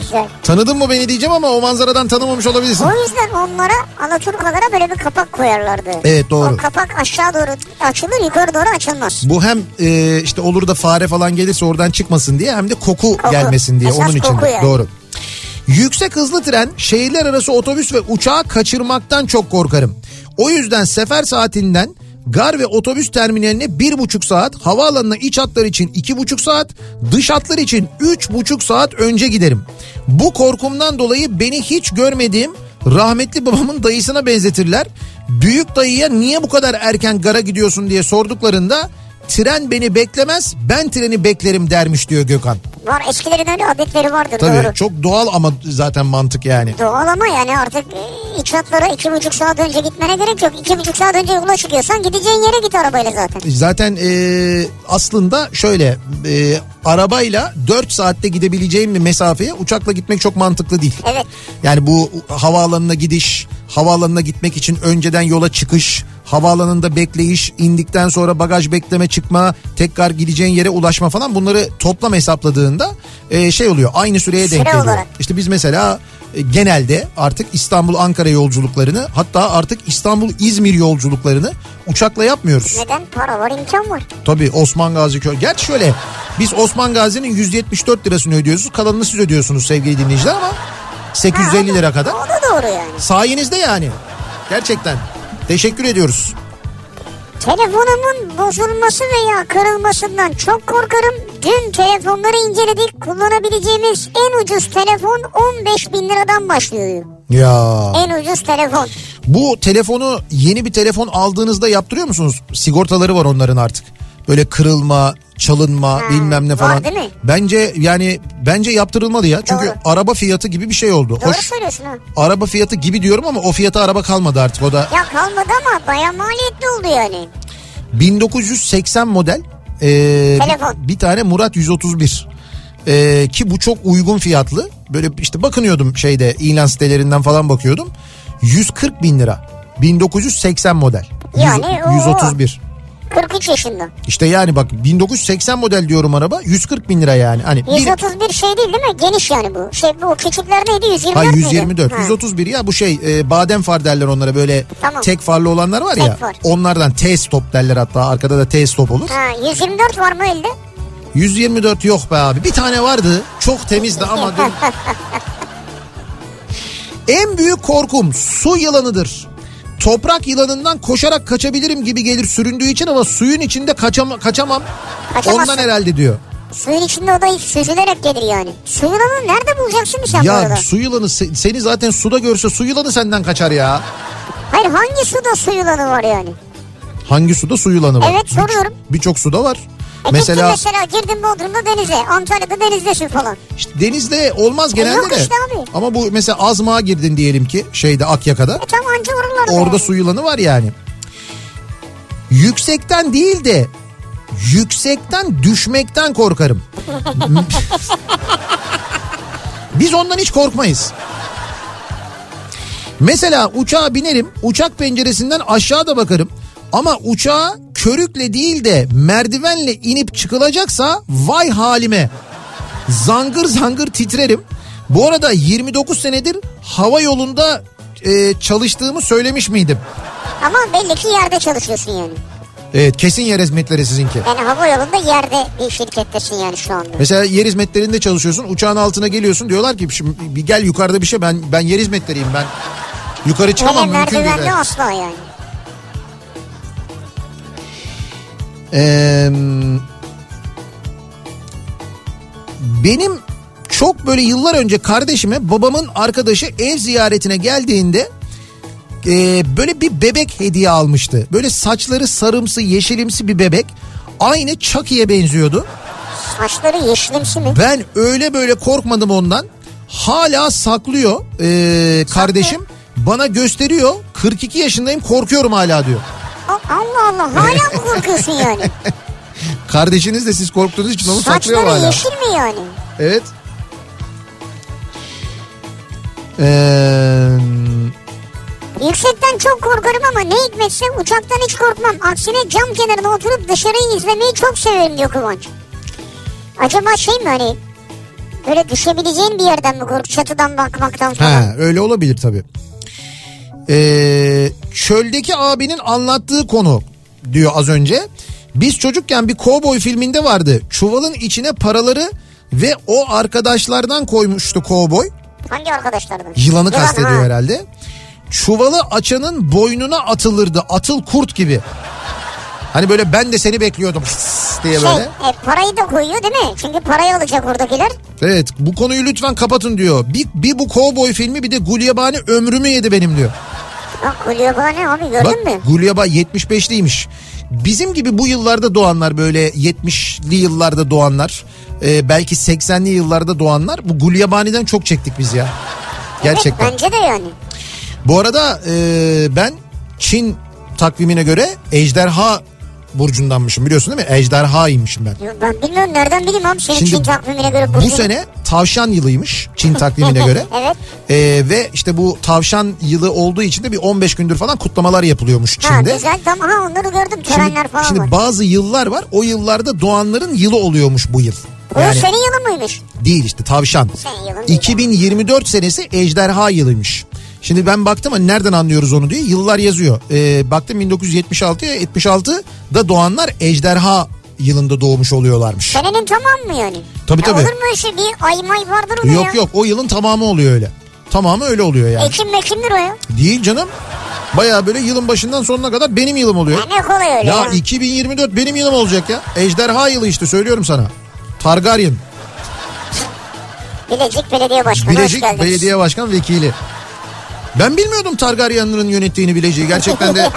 güzel.
Tanıdın mı beni diyeceğim ama o manzaradan tanımamış olabilirsin.
O yüzden onlara Alaturkalara böyle bir kapak koyarlardı.
Evet, doğru.
O kapak aşağı doğru açılır yukarı doğru açılmaz.
Bu hem e, işte olur da fare falan gelirse oradan çıkmasın diye hem de koku,
Koku.
gelmesin diye
Esas
onun için.
koku
de.
yani.
Doğru. Yüksek hızlı tren, şehirler arası otobüs ve uçağı kaçırmaktan çok korkarım. O yüzden sefer saatinden gar ve otobüs terminaline bir buçuk saat, havaalanına iç hatlar için iki buçuk saat, dış hatlar için üç buçuk saat önce giderim. Bu korkumdan dolayı beni hiç görmediğim rahmetli babamın dayısına benzetirler. Büyük dayıya niye bu kadar erken gara gidiyorsun diye sorduklarında Tren beni beklemez ben treni beklerim dermiş diyor Gökhan.
Var eskilerin öyle adetleri vardır
Tabii
(laughs) doğru.
çok doğal ama zaten mantık yani.
Doğal ama yani artık e, iç hatlara iki buçuk saat önce gitmene gerek yok. İki buçuk saat önce yola çıkıyorsan gideceğin yere git arabayla zaten.
Zaten e, aslında şöyle e, arabayla 4 saatte gidebileceğim bir mesafeye uçakla gitmek çok mantıklı değil.
Evet.
Yani bu havaalanına gidiş, havaalanına gitmek için önceden yola çıkış, havaalanında bekleyiş, indikten sonra bagaj bekleme çıkma, tekrar gideceğin yere ulaşma falan bunları toplam hesapladığında e, şey oluyor aynı süreye
Süre
denk geliyor.
olarak.
İşte biz mesela e, genelde artık İstanbul-Ankara yolculuklarını hatta artık İstanbul-İzmir yolculuklarını uçakla yapmıyoruz.
Neden? Para var imkan var.
Tabii Osman Gazi Köy. Gerçi şöyle biz Osman Gazi'nin 174 lirasını ödüyoruz. Kalanını siz ödüyorsunuz sevgili dinleyiciler ama 850 lira kadar.
O da doğru yani.
Sayenizde yani. Gerçekten. Teşekkür ediyoruz.
Telefonumun bozulması veya kırılmasından çok korkarım. Dün telefonları inceledik. Kullanabileceğimiz en ucuz telefon 15 bin liradan başlıyor.
Ya.
En ucuz telefon.
Bu telefonu yeni bir telefon aldığınızda yaptırıyor musunuz? Sigortaları var onların artık. Böyle kırılma, çalınma, bilmem ne
var
falan.
değil mi?
Bence yani bence yaptırılmalı ya. Çünkü
Doğru.
araba fiyatı gibi bir şey oldu.
Doğru
Hoş,
söylüyorsun ha.
araba fiyatı gibi diyorum ama o fiyata araba kalmadı artık o da.
Ya kalmadı ama baya maliyetli oldu yani.
1980 model e,
Telefon.
bir, bir tane Murat 131 E, ki bu çok uygun fiyatlı böyle işte bakınıyordum şeyde ilan sitelerinden falan bakıyordum 140 bin lira 1980 model Yüz-
Yani o-
131
43 yaşında.
işte yani bak 1980 model diyorum araba 140 bin lira yani hani bir,
131 şey değil değil mi? Geniş yani bu. Şey bu küçükler neydi? 124
Hayır
miydi?
124.
Ha.
131 ya bu şey e, badem far derler onlara böyle
Tamam.
tek farlı olanlar var
Tek
ya.
far.
Onlardan T stop derler hatta arkada da T stop olur.
Ha, 124 var mı elde?
124 yok be abi. Bir tane vardı. Çok temizdi ama dün... En büyük korkum su yılanıdır. Toprak yılanından koşarak kaçabilirim gibi gelir süründüğü için ama suyun içinde kaçam kaçamam.
Kaçamazsın.
Ondan herhalde diyor.
(laughs) Suyun içinde o da süzülerek gelir yani. Su yılanı nerede bulacaksın sen bu
ya
arada?
su yılanı se- seni zaten suda görse su yılanı senden kaçar ya.
Hayır hangi suda su yılanı var yani? E,
Hangi suda su yılanı var?
Evet, soruyorum.
Bir- Birçok suda var.
E mesela...
mesela
mesela girdin Bodrum'da denize. Antalya'da denizdesin falan.
işte denizde olmaz genelde
E, yok
de.
işte abi.
Ama bu mesela azmağa girdin diyelim ki şeyde Akyaka'da.
E tam anca oralarda.
Orada
yani.
su yılanı var yani. Yüksekten değil de yüksekten düşmekten korkarım. (laughs) Biz ondan hiç korkmayız. Mesela uçağa binerim, uçak penceresinden aşağıda bakarım. Ama uçağa körükle değil de merdivenle inip çıkılacaksa vay halime. Zangır zangır titrerim. Bu arada 29 senedir hava yolunda e, çalıştığımı söylemiş miydim?
Ama belli ki yerde çalışıyorsun yani.
Evet kesin yer hizmetleri sizinki.
Yani hava yolunda yerde bir şirkettesin yani şu anda.
Mesela yer hizmetlerinde çalışıyorsun uçağın altına geliyorsun diyorlar ki şimdi bir gel yukarıda bir şey ben ben yer hizmetleriyim ben yukarı
Öyle
çıkamam mümkün değil.
merdivenli asla yani.
Ee, benim çok böyle yıllar önce kardeşime babamın arkadaşı ev ziyaretine geldiğinde e, böyle bir bebek hediye almıştı. Böyle saçları sarımsı yeşilimsi bir bebek aynı Chucky'ye benziyordu.
Saçları yeşilimsi mi?
Ben öyle böyle korkmadım ondan. Hala saklıyor ee, kardeşim. Bana gösteriyor. 42 yaşındayım korkuyorum hala diyor.
A- Allah Allah hala mı
(laughs)
korkuyorsun yani?
Kardeşiniz de siz korktuğunuz için onu saklıyor
Saçları
hala.
yeşil mi yani?
Evet. Ee,
Yüksekten çok korkarım ama ne hikmetse uçaktan hiç korkmam. Aksine cam kenarına oturup dışarıyı izlemeyi çok severim diyor Kıvanç. Acaba şey mi hani böyle düşebileceğin bir yerden mi kork? Çatıdan bakmaktan falan.
ha, öyle olabilir tabii. Ee, çöldeki abinin anlattığı konu diyor az önce. Biz çocukken bir kovboy filminde vardı. Çuvalın içine paraları ve o arkadaşlardan koymuştu kovboy.
Hangi arkadaşlardan?
Yılanı
Yılan, ha.
kastediyor herhalde. Çuvalı açanın boynuna atılırdı. Atıl kurt gibi. Hani böyle ben de seni bekliyordum diye
Şey,
böyle.
e, parayı da koyuyor değil mi? Çünkü parayı alacak oradakiler.
Evet bu konuyu lütfen kapatın diyor. Bir, bir bu kovboy filmi bir de Gulyabani ömrümü yedi benim diyor.
Bak kulüyor bana abi
Bak
gördün mü?
Gulyaba 75'liymiş. Bizim gibi bu yıllarda doğanlar böyle 70'li yıllarda doğanlar e, belki 80'li yıllarda doğanlar bu gulyabani'den çok çektik biz ya. Gerçekten.
Evet, bence de yani.
Bu arada e, ben Çin takvimine göre ejderha burcundanmışım biliyorsun değil mi? Ejderhaymışım ben.
Yok, Ben bilmiyorum nereden bileyim abi senin
Şimdi
Çin takvimine göre.
Bu
burcun-
sene tavşan yılıymış Çin takvimine göre.
(laughs) Evet.
E, ve işte bu tavşan yılı olduğu için de bir 15 gündür falan kutlamalar yapılıyormuş
Ha,
Çin'de.
güzel tamam ha onları gördüm törenler
Şimdi,
falan
şimdi
var.
bazı yıllar var. O yıllarda doğanların yılı oluyormuş bu yıl.
Bu senin yılın mıymış?
Değil işte tavşan.
Senin yılın değil.
2024 senesi ejderha yılıymış. Şimdi ben baktım hani nereden anlıyoruz onu diye yıllar yazıyor. Ee, baktım 1976'ya 76'da doğanlar ejderha yılında doğmuş oluyorlarmış.
Senenin tamam mı yani?
Tabii,
Ya
tabii.
Olur mu işte bir ay may vardır ona ya.
Yok yok o yılın tamamı oluyor öyle. Tamamı öyle oluyor yani.
Ekim mekimdir o ya.
Değil canım. Baya böyle yılın başından sonuna kadar benim yılım oluyor.
Ya ne kolay öyle ya.
Ya 2024 benim yılım olacak ya. Ejderha yılı işte söylüyorum sana. Targaryen.
Bilecik Belediye Başkanı hoş
Bilecik
geldiniz.
Belediye Başkan Vekili. Ben bilmiyordum Targaryen'ların yönettiğini Bilecik'i. Gerçekten
(laughs)
de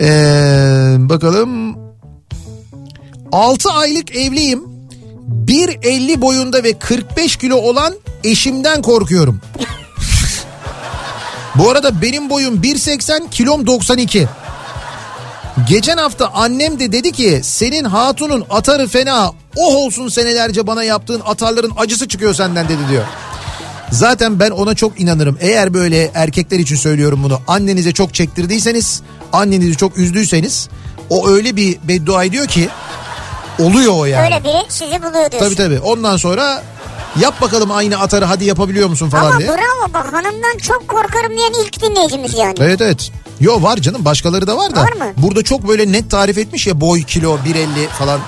Ee, bakalım. 6 aylık evliyim. 1.50 boyunda ve 45 kilo olan eşimden korkuyorum. Bu arada benim boyum 1.80 kilom 92. Geçen hafta annem de dedi ki senin hatunun atarı fena oh olsun senelerce bana yaptığın atarların acısı çıkıyor senden dedi diyor. Zaten ben ona çok inanırım. Eğer böyle erkekler için söylüyorum bunu. Annenize çok çektirdiyseniz, annenizi çok üzdüyseniz o öyle bir beddua ediyor ki oluyor o yani.
Öyle biri sizi buluyor diyorsun.
Tabii tabii. Ondan sonra yap bakalım aynı atarı hadi yapabiliyor musun falan
Ama
diye.
bravo bak hanımdan çok korkarım diyen ilk dinleyicimiz yani.
Evet evet. Yo var canım başkaları da var da.
Var mı?
Burada çok böyle net tarif etmiş ya boy kilo 1.50 falan.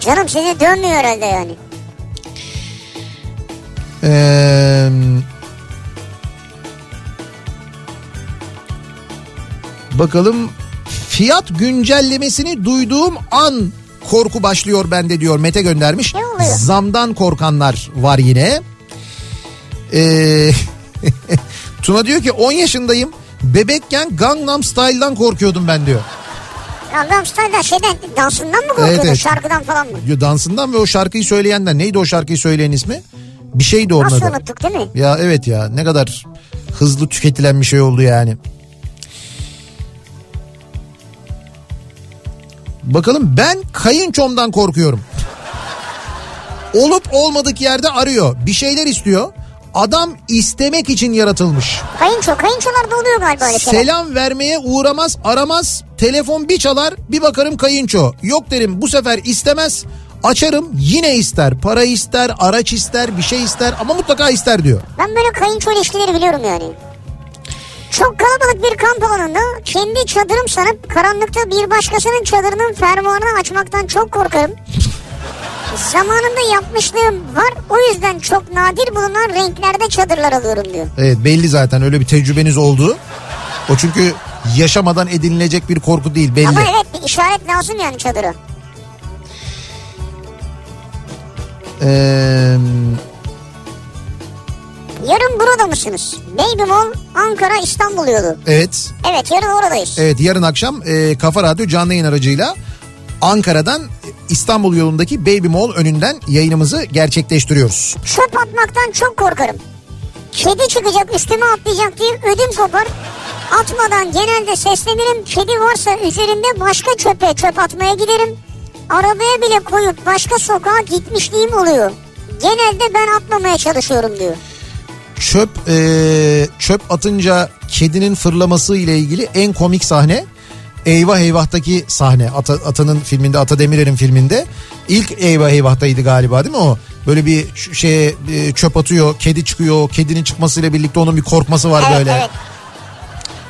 Canım sizi dönmüyor herhalde yani.
Ee, bakalım fiyat güncellemesini duyduğum an korku başlıyor bende diyor Mete göndermiş.
Ne oluyor?
Zamdan korkanlar var yine. Ee, (laughs) Tuna diyor ki 10 yaşındayım. Bebekken Gangnam Style'dan korkuyordum ben diyor.
Gangnam Style'da şeyden dansından mı korkuyordun
evet.
şarkıdan falan mı?
Yo, Dansından ve o şarkıyı söyleyenden neydi o şarkıyı söyleyen ismi? Bir şeydi onun
Nasıl
adı.
unuttuk değil mi?
Ya evet ya ne kadar hızlı tüketilen bir şey oldu yani. Bakalım ben kayınçomdan korkuyorum. Olup olmadık yerde arıyor. Bir şeyler istiyor. Adam istemek için yaratılmış.
Kayınço, kayınçolarda oluyor galiba öyle şeyler.
Selam vermeye uğramaz aramaz telefon bir çalar bir bakarım kayınço. Yok derim bu sefer istemez açarım yine ister para ister araç ister bir şey ister ama mutlaka ister diyor.
Ben böyle kayınço ilişkileri biliyorum yani. Çok kalabalık bir kamp alanında kendi çadırım sanıp karanlıkta bir başkasının çadırının fermuarını açmaktan çok korkarım. Zamanında yapmışlığım var o yüzden çok nadir bulunan renklerde çadırlar alıyorum diyor.
Evet belli zaten öyle bir tecrübeniz olduğu. O çünkü yaşamadan edinilecek bir korku değil belli.
Ama evet bir işaret lazım yani çadıra.
Ee,
Yarın burada mısınız? Baby Mall Ankara İstanbul yolu.
evet.
Evet yarın oradayız.
Evet yarın akşam e, Kafa Radyo canlı yayın aracıyla Ankara'dan İstanbul yolundaki Baby Mall önünden yayınımızı gerçekleştiriyoruz.
Çöp atmaktan çok korkarım. Kedi çıkacak üstüme atlayacak diye ödüm kopar. Atmadan genelde seslenirim. Kedi varsa üzerinde başka çöpe çöp atmaya giderim. Arabaya bile koyup başka sokağa gitmişliğim oluyor. Genelde ben atlamaya çalışıyorum diyor.
Çöp e, çöp atınca kedinin fırlaması ile ilgili en komik sahne Eyvah Eyvah'taki sahne Ata, Ata'nın filminde Ata Demirer'in filminde ilk Eyvah Eyvah'taydı galiba değil mi o? Böyle bir ç- şeye e, çöp atıyor kedi çıkıyor kedinin çıkmasıyla birlikte onun bir korkması var
Evet,
böyle.
evet.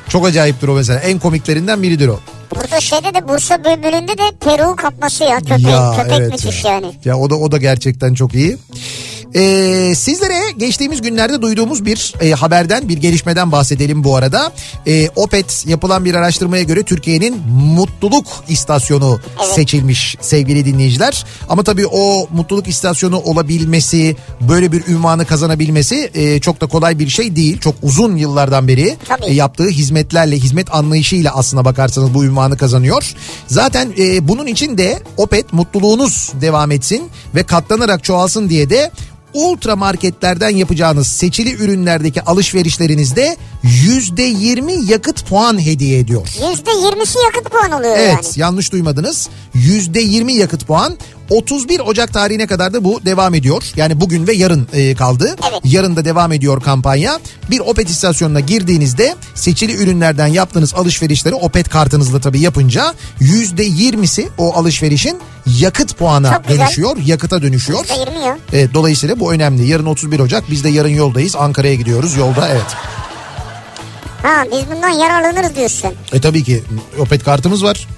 Çok acayiptir o mesela en komiklerinden biridir o.
Burada şeyde de Bursa bölümünde de Peru kapması ya köpek.
Ya,
köpek
evet
müthiş
ya.
yani.
Ya o da o da gerçekten çok iyi. Ee, sizlere geçtiğimiz günlerde duyduğumuz bir e, haberden bir gelişmeden bahsedelim bu arada. Ee, Opet yapılan bir araştırmaya göre Türkiye'nin mutluluk istasyonu seçilmiş sevgili dinleyiciler. Ama tabii o mutluluk istasyonu olabilmesi, böyle bir ünvanı kazanabilmesi e, çok da kolay bir şey değil. Çok uzun yıllardan beri
Tabii.
e, yaptığı hizmetlerle, hizmet anlayışıyla aslına bakarsanız bu ünvanı kazanıyor. Zaten e, bunun için de Opet mutluluğunuz devam etsin ve katlanarak çoğalsın diye de ultra marketlerden yapacağınız seçili ürünlerdeki alışverişlerinizde yüzde yirmi yakıt puan hediye ediyor.
%20'si yakıt puan oluyor
Evet
yani.
yanlış duymadınız. Yüzde yirmi yakıt puan. 31 Ocak tarihine kadar da bu devam ediyor. Yani bugün ve yarın e, kaldı.
Evet.
Yarın da devam ediyor kampanya. Bir Opet istasyonuna girdiğinizde seçili ürünlerden yaptığınız alışverişleri Opet kartınızla tabii yapınca yüzde %20'si o alışverişin yakıt puana
Çok güzel.
dönüşüyor. Yakıta dönüşüyor.
%20 ya.
Evet, dolayısıyla bu önemli. Yarın 31 Ocak biz de yarın yoldayız. Ankara'ya gidiyoruz yolda evet.
Ha biz bundan yararlanırız diyorsun.
E tabii ki Opet kartımız var.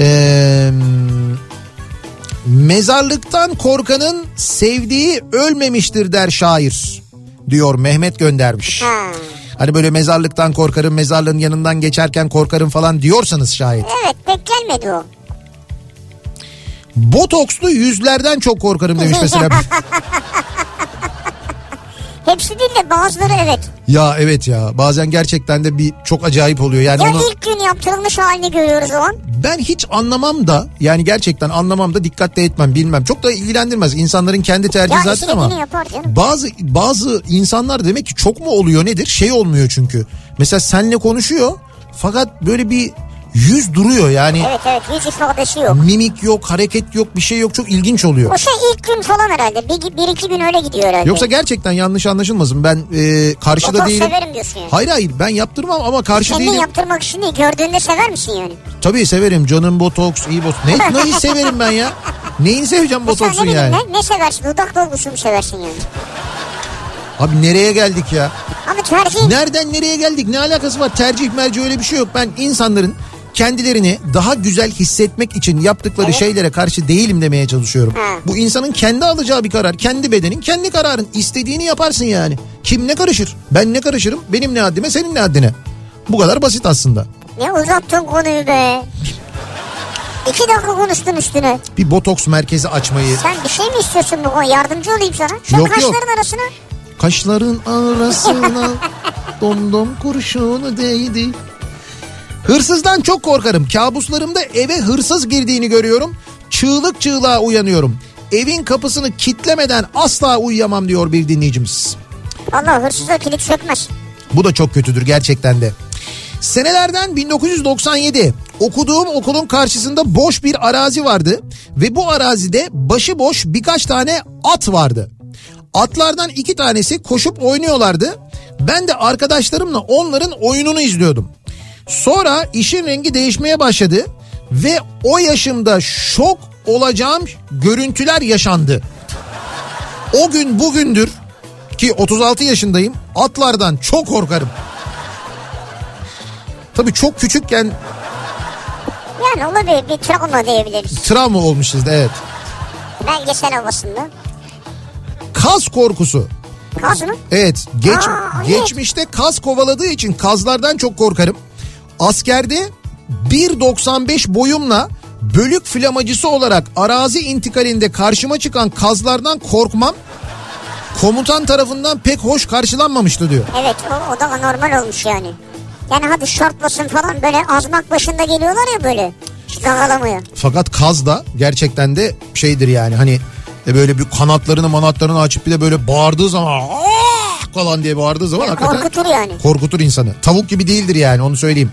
Ee, mezarlıktan korkanın sevdiği ölmemiştir der şair diyor Mehmet göndermiş.
Ha.
Hani böyle mezarlıktan korkarım mezarlığın yanından geçerken korkarım falan diyorsanız şayet.
Evet pek gelmedi o.
Botokslu yüzlerden çok korkarım demiş mesela.
Hepsi değil de bazıları evet.
ya evet ya bazen gerçekten de bir çok acayip oluyor. Yani
Ya
onu...
ilk gün yaptırılmış halini görüyoruz o an.
ben hiç anlamam da yani gerçekten anlamam da dikkatli etmem bilmem. Çok da ilgilendirmez insanların kendi tercihi
Ya
zaten
istediğini
ama.
yapar canım.
Bazı bazı insanlar demek ki çok mu oluyor nedir? Şey olmuyor çünkü. Mesela senle konuşuyor fakat böyle bir yüz duruyor yani.
Evet evet yüz ifadesi yok.
Mimik yok, hareket yok, bir şey yok. Çok ilginç oluyor.
O şey ilk gün falan herhalde. Bir, bir iki gün öyle gidiyor herhalde.
Yoksa gerçekten yanlış anlaşılmasın. Ben e, karşıda
Botoks
değilim.
severim diyorsun yani.
Hayır hayır ben yaptırmam ama karşı
Kendin
değilim.
yaptırmak için değil gördüğünde sever misin yani?
Tabii severim canım botoks, iyi botoks. Ne, neyi severim ben ya? Neyini seveceğim
Mesela ne
botoksun
bileyim
yani?
ne, ne seversin? Dudak dolgusu mu seversin yani?
Abi nereye geldik ya?
Ama tercihin
Nereden nereye geldik? Ne alakası var? Tercih merci öyle bir şey yok. Ben insanların kendilerini daha güzel hissetmek için yaptıkları şeylere karşı değilim demeye çalışıyorum.
Hı.
Bu insanın kendi alacağı bir karar. Kendi bedenin, kendi kararın. istediğini yaparsın yani. Kim ne karışır? Ben ne karışırım? Benim ne haddime, senin ne haddine? Bu kadar basit aslında.
ne uzattın konuyu be. İki dakika konuştun üstüne.
Bir botoks merkezi açmayı,
Sen bir şey mi istiyorsun bu konu? Yardımcı olayım sana. Şu
Yok, yok.
kaşların arasına.
Kaşların arasına dondom kurşunu değdi. Hırsızdan çok korkarım. Kabuslarımda eve hırsız girdiğini görüyorum. Çığlık çığlığa uyanıyorum. Evin kapısını kitlemeden asla uyuyamam diyor bir dinleyicimiz.
Allah hırsızlar kilit sökmez.
Bu da çok kötüdür gerçekten de. Senelerden 1997 okuduğum okulun karşısında boş bir arazi vardı ve bu arazide başıboş birkaç tane at vardı. Atlardan iki tanesi koşup oynuyorlardı. Ben de arkadaşlarımla onların oyununu izliyordum. Sonra işin rengi değişmeye başladı ve o yaşımda şok olacağım görüntüler yaşandı. O gün bugündür ki 36 yaşındayım atlardan çok korkarım. Tabii çok küçükken
Yani olabilir bir travma diyebiliriz.
travma olmuş sizde evet.
Belgesel havasında.
Kaz korkusu.
Kaz mı?
Evet geç,
Aa, evet.
geçmişte kaz kovaladığı için kazlardan çok korkarım. Askerde 1.95 boyumla bölük flamacısı olarak arazi intikalinde karşıma çıkan kazlardan korkmam komutan tarafından pek hoş karşılanmamıştı diyor.
Evet o, o da anormal olmuş yani. Yani hadi şortlasın falan böyle azmak başında geliyorlar ya böyle. Gagalamaya.
Fakat kaz da gerçekten de şeydir yani hani e, böyle bir kanatlarını manatlarını açıp bir de böyle bağırdığı zaman "Aa!" falan diye bağırdığı zaman hakikaten
Korkutur yani.
korkutur insanı. Tavuk gibi değildir yani onu söyleyeyim.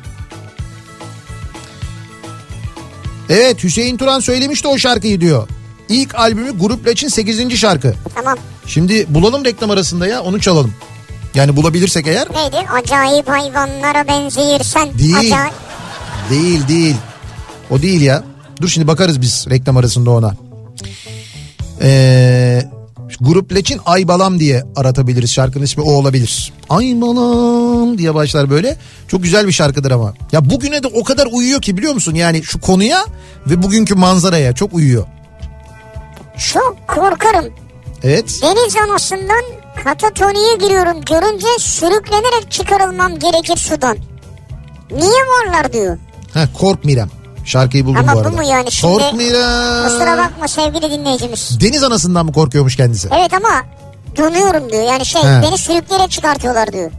Evet Hüseyin Turan söylemişti o şarkıyı diyor. İlk albümü Grup Laç'ın 8. şarkı.
Tamam.
Şimdi bulalım reklam arasında ya onu çalalım. Yani bulabilirsek eğer
Neydi? Acayip hayvanlara benzeyirsen.
Değil.
Acayip.
Değil değil. O değil ya. Dur şimdi bakarız biz reklam arasında ona. Ee, Grup Leç'in Ay Balam diye aratabiliriz. Şarkının ismi o olabilir. Ay Balam diye başlar böyle. Çok güzel bir şarkıdır ama. Ya bugüne de o kadar uyuyor ki biliyor musun? Yani şu konuya ve bugünkü manzaraya çok uyuyor.
Çok korkarım.
Evet.
Deniz anasından katatoniye giriyorum. Görünce sürüklenerek çıkarılmam gerekir sudan. Niye varlar diyor.
Ha, Kork Mirem. Şarkıyı buldum
Ama
bu
bu
arada.
mu yani şimdi?
Kork Mirem.
Kusura bakma sevgili dinleyicimiz.
Deniz anasından mı korkuyormuş kendisi?
Evet ama donuyorum diyor. Yani şey
He.
beni sürükleyerek çıkartıyorlar diyor.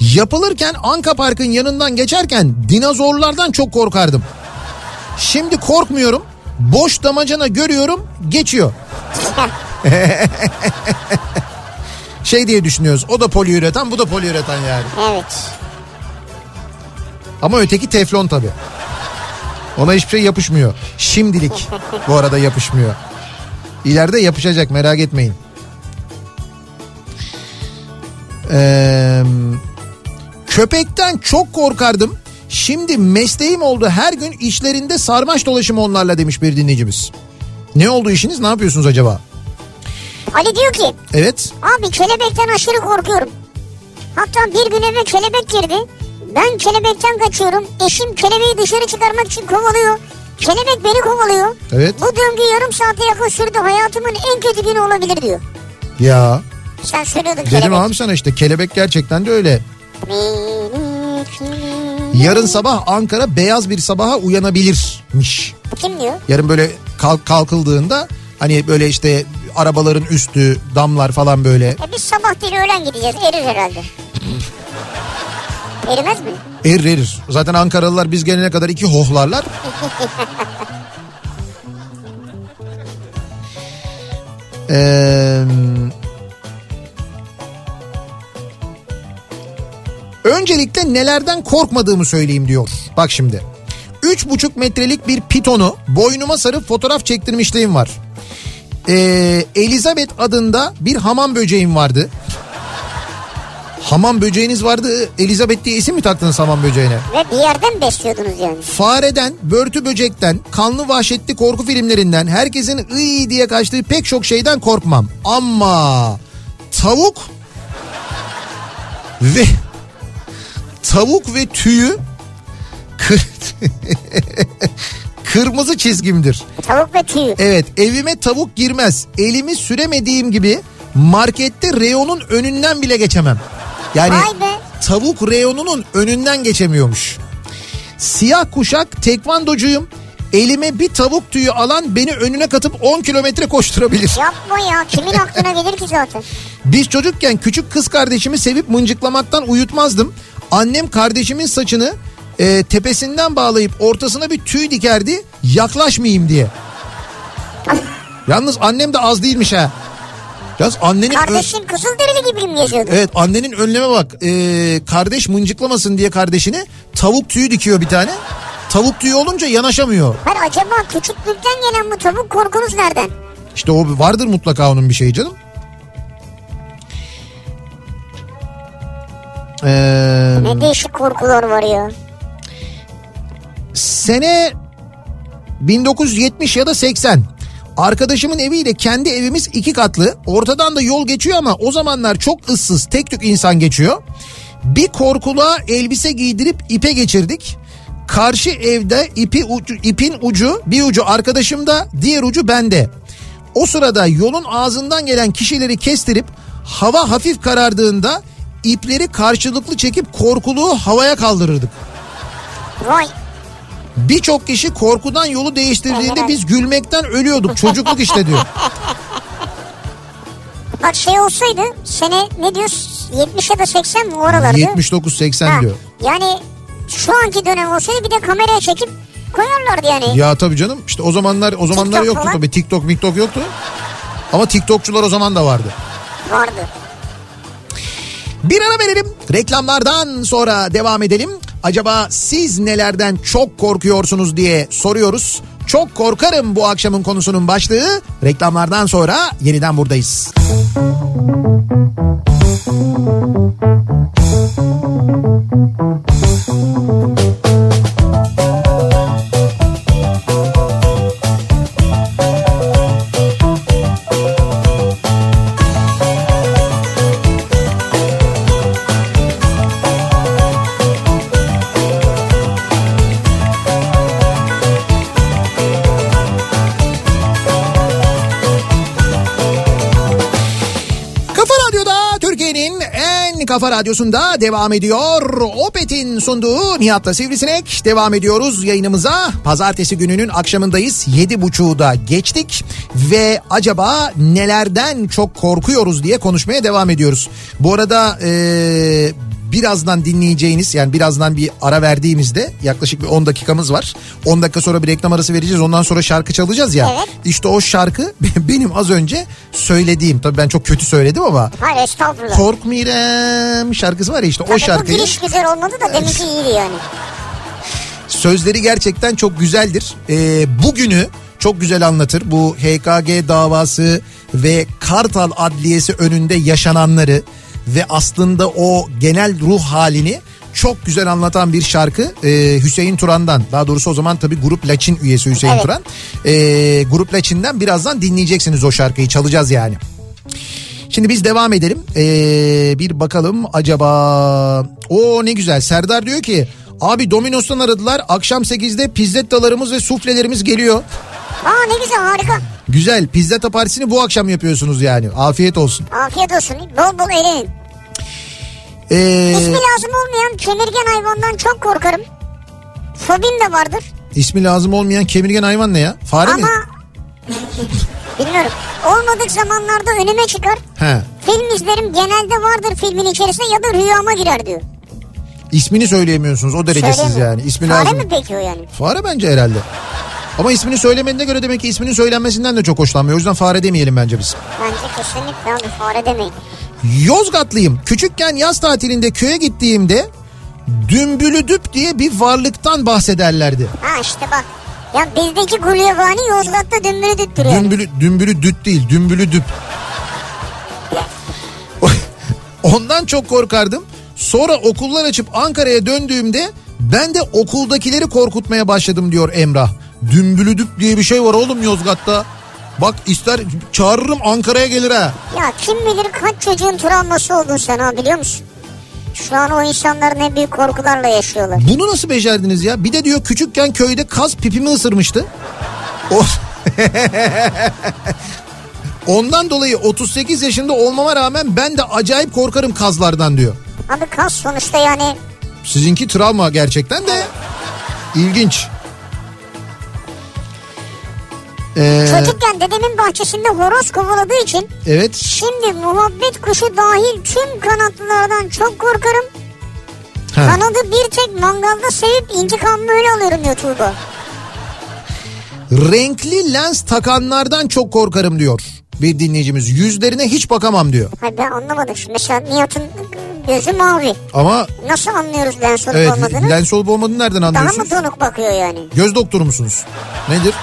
Yapılırken Anka Park'ın yanından geçerken dinozorlardan çok korkardım. Şimdi korkmuyorum. Boş damacana görüyorum geçiyor. şey diye düşünüyoruz. O da poliüretan bu da poliüretan yani.
evet.
Ama öteki teflon tabii. Ona hiçbir şey yapışmıyor. Şimdilik bu arada yapışmıyor. İleride yapışacak merak etmeyin. Ee, köpekten çok korkardım. Şimdi mesleğim oldu. Her gün işlerinde sarmaş dolaşım onlarla demiş bir dinleyicimiz. Ne oldu işiniz? Ne yapıyorsunuz acaba?
Ali diyor ki
Evet.
abi kelebekten aşırı korkuyorum. Hatta bir gün eve kelebek girdi. Ben kelebekten kaçıyorum. Eşim kelebeği dışarı çıkarmak için kovalıyor. Kelebek beni kovalıyor.
Evet.
Bu döngü yarım saate yakın sürdü. Hayatımın en kötü günü olabilir diyor.
Ya
Sen söylüyordun
dedim
kelebek.
abi sana işte kelebek gerçekten de öyle.
Benim kelebek.
Yarın sabah Ankara beyaz bir sabaha uyanabilirmiş.
Kim diyor?
Yarın böyle kalk, kalkıldığında hani böyle işte arabaların üstü, damlar falan böyle
E biz sabah değil öğlen gideceğiz. Erir herhalde. Erimez mi?
erir erir. Zaten Ankaralılar biz gelene kadar iki hohlarlar. Eee, öncelikle nelerden korkmadığımı söyleyeyim diyor. Bak şimdi. 3,5 metrelik bir pitonu boynuma sarıp fotoğraf çektirmişliğim var. Ee, Elizabeth adında bir hamam böceğim vardı. Hamam böceğiniz vardı. Elizabeth diye isim mi taktınız hamam böceğine?
Ve bir yerden besliyordunuz yani.
Fareden, börtü böcekten, kanlı vahşetli korku filmlerinden, herkesin ıy diye kaçtığı pek çok şeyden korkmam. Ama tavuk ve tavuk ve tüyü kır- (laughs) kırmızı çizgimdir.
Tavuk ve tüy.
Evet evime tavuk girmez. Elimi süremediğim gibi markette reyonun önünden bile geçemem. Yani
Vay be.
tavuk reyonunun önünden geçemiyormuş. Siyah kuşak tekvandocuyum. Elime bir tavuk tüyü alan beni önüne katıp 10 kilometre koşturabilir.
Yapma ya. Kimin aklına gelir ki zaten?
Biz çocukken küçük kız kardeşimi sevip mıncıklamaktan uyutmazdım. Annem kardeşimin saçını e, tepesinden bağlayıp ortasına bir tüy dikerdi yaklaşmayayım diye. Yalnız annem de az değilmiş ha. Yalnız annenin... ö-
Kardeşin Kızılderili gibi mi geziyordu?
Evet annenin önleme bak. E, kardeş mıncıklamasın diye kardeşini tavuk tüyü dikiyor bir tane. Tavuk tüyü olunca yanaşamıyor.
Hayır Hani acaba küçüklükten gelen bu tavuk korkunuz nereden?
İşte o vardır mutlaka onun bir şeyi canım. Ee,
Ne değişik korkular var ya.
sene 1970 ya da 80. Arkadaşımın eviyle kendi evimiz iki katlı. Ortadan da yol geçiyor ama o zamanlar çok ıssız, tek tük insan geçiyor. Bir korkuluğa elbise giydirip ipe geçirdik. Karşı evde ipi ucu- ipin ucu bir ucu arkadaşımda diğer ucu bende. O sırada yolun ağzından gelen kişileri kestirip hava hafif karardığında ipleri karşılıklı çekip korkuluğu havaya kaldırırdık.
Vay.
Birçok kişi korkudan yolu değiştirdiğinde biz gülmekten ölüyorduk. Çocukluk işte
(laughs)
diyor.
Bak şey olsaydı sene ne diyorsun 70 ya da 80 mi oralarda?
79-80 diyor.
Yani şu anki dönem olsaydı bir de kameraya çekip koyarlardı yani.
Ya tabii canım işte o zamanlar o zamanlar
TikTok
yoktu
falan.
tabii. TikTok, TikTok yoktu. Ama TikTokçular o zaman da vardı.
Vardı.
Bir ara verelim. Reklamlardan sonra devam edelim. Acaba siz nelerden çok korkuyorsunuz diye soruyoruz. Çok korkarım bu akşamın konusunun başlığı. Reklamlardan sonra yeniden buradayız. Kafa Radyosu'nda devam ediyor. Opet'in sunduğu Nihat'la Sivrisinek. Devam ediyoruz yayınımıza. Pazartesi gününün akşamındayız. Yedi buçuğda geçtik. Ve acaba nelerden çok korkuyoruz diye konuşmaya devam ediyoruz. Bu arada eee birazdan dinleyeceğiniz yani birazdan bir ara verdiğimizde yaklaşık bir 10 dakikamız var. 10 dakika sonra bir reklam arası vereceğiz. Ondan sonra şarkı çalacağız ya.
Evet.
İşte o şarkı (laughs) benim az önce söylediğim. Tabii ben çok kötü söyledim ama
Hayır estağfurullah.
Korkmirem şarkısı var ya işte o
Tabii Bu
şarkıyı
giriş güzel olmadı da deminki iyiydi yani.
sözleri gerçekten çok güzeldir. Ee, bugünü çok güzel anlatır. Bu HKG davası ve Kartal Adliyesi önünde yaşananları ve aslında o genel ruh halini çok güzel anlatan bir şarkı ee, Hüseyin Turan'dan daha doğrusu o zaman tabi Grup Laçin üyesi Hüseyin
Evet.
Turan Ee, Grup Laçin'den birazdan dinleyeceksiniz o şarkıyı çalacağız yani. Şimdi biz devam edelim. Ee, bir bakalım acaba... O ne güzel. Serdar diyor ki... Abi Domino's'tan aradılar. Akşam 8'de pizzettalarımız ve suflelerimiz geliyor.
Aa ne güzel harika.
Güzel. Pizzetta partisini bu akşam yapıyorsunuz yani. Afiyet olsun.
Afiyet olsun. Bol bol eğlenin.
Ee,
İsmi lazım olmayan kemirgen hayvandan çok korkarım. Fobim de vardır.
ismi lazım olmayan kemirgen hayvan ne ya? Fare mi?
Ama bilmiyorum. Olmadık zamanlarda önüme çıkar.
He.
Film izlerim genelde vardır filmin içerisinde ya da rüyama girer diyor.
İsmini söyleyemiyorsunuz. O derece siz
Söyleyemiyorum.
yani. İsmi
Fare
lazım.
mi peki o yani?
Fare bence herhalde. Ama ismini söylemediğine göre demek ki isminin söylenmesinden de çok hoşlanmıyor. O yüzden fare demeyelim bence biz.
Bence kesinlikle abi fare demeyin.
Yozgatlıyım. Küçükken yaz tatilinde köye gittiğimde dümbülüdüp diye bir varlıktan bahsederlerdi.
Ha işte bak. Ya bizdeki gulyabani Yozgat'ta dümbürü düttürüyor.
Dümbülü, dümbülü düt değil, dümbülü düp. (laughs) Ondan çok korkardım. Sonra okullar açıp Ankara'ya döndüğümde ben de okuldakileri korkutmaya başladım diyor Emrah. Dümbülü düp diye bir şey var oğlum Yozgat'ta. Bak ister çağırırım Ankara'ya gelir ha.
Ya kim bilir kaç çocuğun travması oldun sen ha biliyor musun? Şu an o insanlar ne büyük korkularla yaşıyorlar.
Bunu nasıl becerdiniz ya? Bir de diyor küçükken köyde kaz pipimi ısırmıştı. O... (laughs) Ondan dolayı 38 yaşında olmama rağmen ben de acayip korkarım kazlardan diyor.
Abi kas sonuçta yani
Sizinki travma gerçekten de ilginç. Ee,
çocukken dedemin bahçesinde horoz kovaladığı için
evet.
şimdi muhabbet kuşu dahil tüm kanatlılardan çok korkarım.
Ha.
Kanadı bir tek mangalda sevip intikamımı öyle alıyorum diyor Tuğba.
Renkli lens takanlardan çok korkarım diyor bir dinleyicimiz. Yüzlerine hiç bakamam diyor.
Hayır ben anlamadım. Şimdi mesela Nihat'ın gözü mavi.
Ama
Nasıl anlıyoruz lens olup
evet
olmadığını?
lens olup olmadığını nereden
Daha
anlıyorsunuz?
mı donuk bakıyor yani?
Göz doktoru musunuz? Nedir?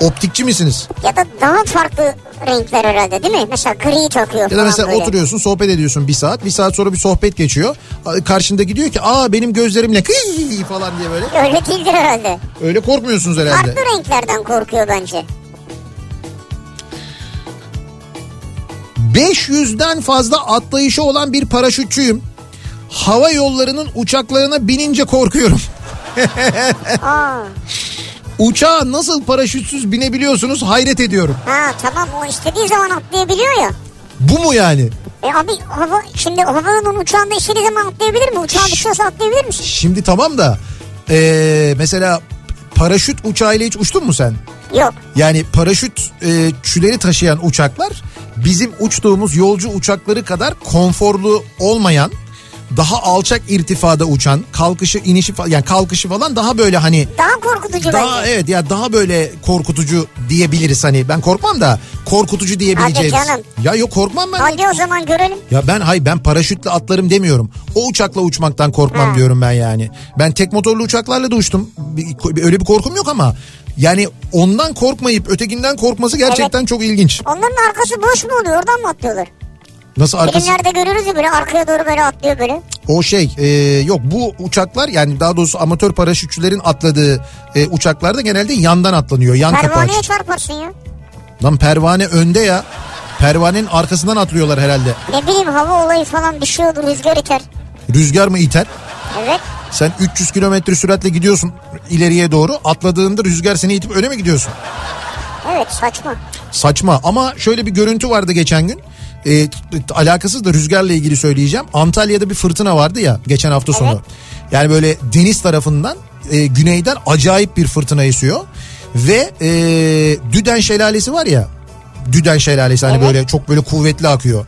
Optikçi misiniz?
Ya da daha farklı renkler herhalde değil mi? Mesela griyi takıyor
Ya da
falan
mesela
böyle.
oturuyorsun sohbet ediyorsun bir saat. Bir saat sonra bir sohbet geçiyor. Karşında gidiyor ki aa benim gözlerimle kıy falan diye böyle.
Öyle değildir herhalde.
Öyle korkmuyorsunuz
Farklı
herhalde.
renklerden
(laughs)
korkuyor bence.
500'den fazla atlayışı olan bir paraşütçüyüm. Hava yollarının uçaklarına binince korkuyorum. (laughs)
Aa,
Uçağa nasıl paraşütsüz binebiliyorsunuz hayret ediyorum.
ha tamam o istediği zaman atlayabiliyor ya.
Bu mu yani?
E abi hava, şimdi havanın uçağında istediği zaman atlayabilir mi? Uçağa düşüyorsa atlayabilir misin?
Şimdi tamam da ee, mesela paraşüt uçağıyla hiç uçtun mu sen?
Yok.
Yani paraşüt e, çüleri taşıyan uçaklar bizim uçtuğumuz yolcu uçakları kadar konforlu olmayan daha alçak irtifada uçan kalkışı inişi fa- yani kalkışı falan daha böyle hani
Daha korkutucu
daha
bence.
evet ya daha böyle korkutucu diyebiliriz hani ben korkmam da korkutucu diyebileceğimiz.
Hadi canım.
Ya yok korkmam ben.
Hadi o zaman görelim.
Ya ben hay ben paraşütle atlarım demiyorum. O uçakla uçmaktan korkmam
Ha.
diyorum ben yani. Ben tek motorlu uçaklarla da uçtum. Bir- Öyle bir korkum yok ama yani ondan korkmayıp ötekinden korkması gerçekten çok ilginç.
Onların arkası boş mu oluyor? Oradan mı atlıyorlar?
Nasıl arkası?
Filmlerde görürüz ya böyle arkaya doğru böyle atlıyor böyle.
O şey e, yok bu uçaklar yani daha doğrusu amatör paraşütçülerin atladığı e, uçaklarda genelde yandan atlanıyor. Yan kapı
Pervaneye
aç.
çarparsın ya.
Lan pervane önde ya. Pervanenin arkasından atlıyorlar herhalde.
Ne bileyim hava olayı falan bir şey olur rüzgar iter.
Rüzgar mı iter?
Evet.
Sen 300 kilometre süratle gidiyorsun ileriye doğru. Atladığında rüzgar seni itip öne mi gidiyorsun?
Evet saçma.
Saçma ama şöyle bir görüntü vardı geçen gün. e, t- t- alakasız da rüzgarla ilgili söyleyeceğim. Antalya'da bir fırtına vardı ya geçen hafta sonu. Yani böyle deniz tarafından e, güneyden acayip bir fırtına esiyor. Ve e, Düden Şelalesi var ya. Düden Şelalesi hani böyle çok böyle kuvvetli akıyor.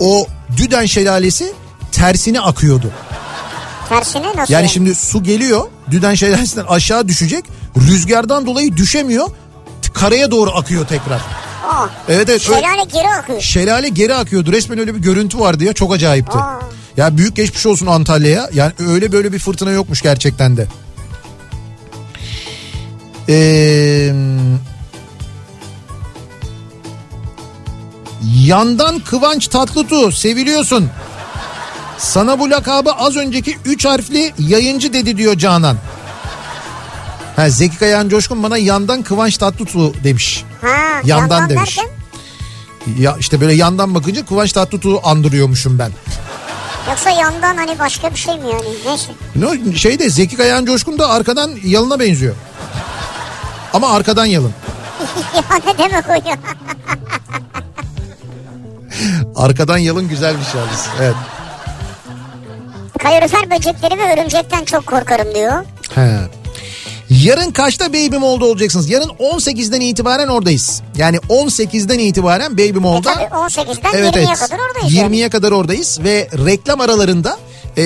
O Düden Şelalesi tersine akıyordu.
Tersine nasıl?
Yani şimdi su geliyor. Düden şelalesinden aşağı düşecek. Rüzgardan dolayı düşemiyor. t- Karaya doğru akıyor tekrar.
Aa,
Evet evet. öyle-
Ah. şelale geri akıyor.
şelale geri akıyordu. Resmen öyle bir görüntü vardı ya. Çok acayipti.
Aa.
Ya büyük geçmiş olsun Antalya'ya. Yani öyle böyle bir fırtına yokmuş gerçekten de. Ee, yandan Kıvanç Tatlıtuğ seviliyorsun. Sana bu lakabı az önceki 3 harfli yayıncı dedi diyor Canan. Ha, Zeki Kayan Coşkun bana yandan Kıvanç Tatlıtuğ demiş.
Ha,
Yandan demiş.
derken,
Ya işte böyle yandan bakınca Kıvanç Tatlıtuğ'u andırıyormuşum ben.
Yoksa yandan hani başka bir şey mi yani? Neyse. (laughs)
Ne şey de Zeki Kayan Coşkun da arkadan yalına benziyor. Ama arkadan yalın.
ya ne demek o ya?
Arkadan yalın güzel bir şey yalnız. Evet.
Kalorifer böcekleri ve örümcekten çok korkarım diyor.
He. Yarın kaçta Baby Mall'da olacaksınız? Yarın 18'den itibaren oradayız. Yani 18'den itibaren Baby
E
Mall'da.
tabii 18'den
Evet
20'ye
evet.
kadar oradayız.
20'ye kadar oradayız ve reklam aralarında e,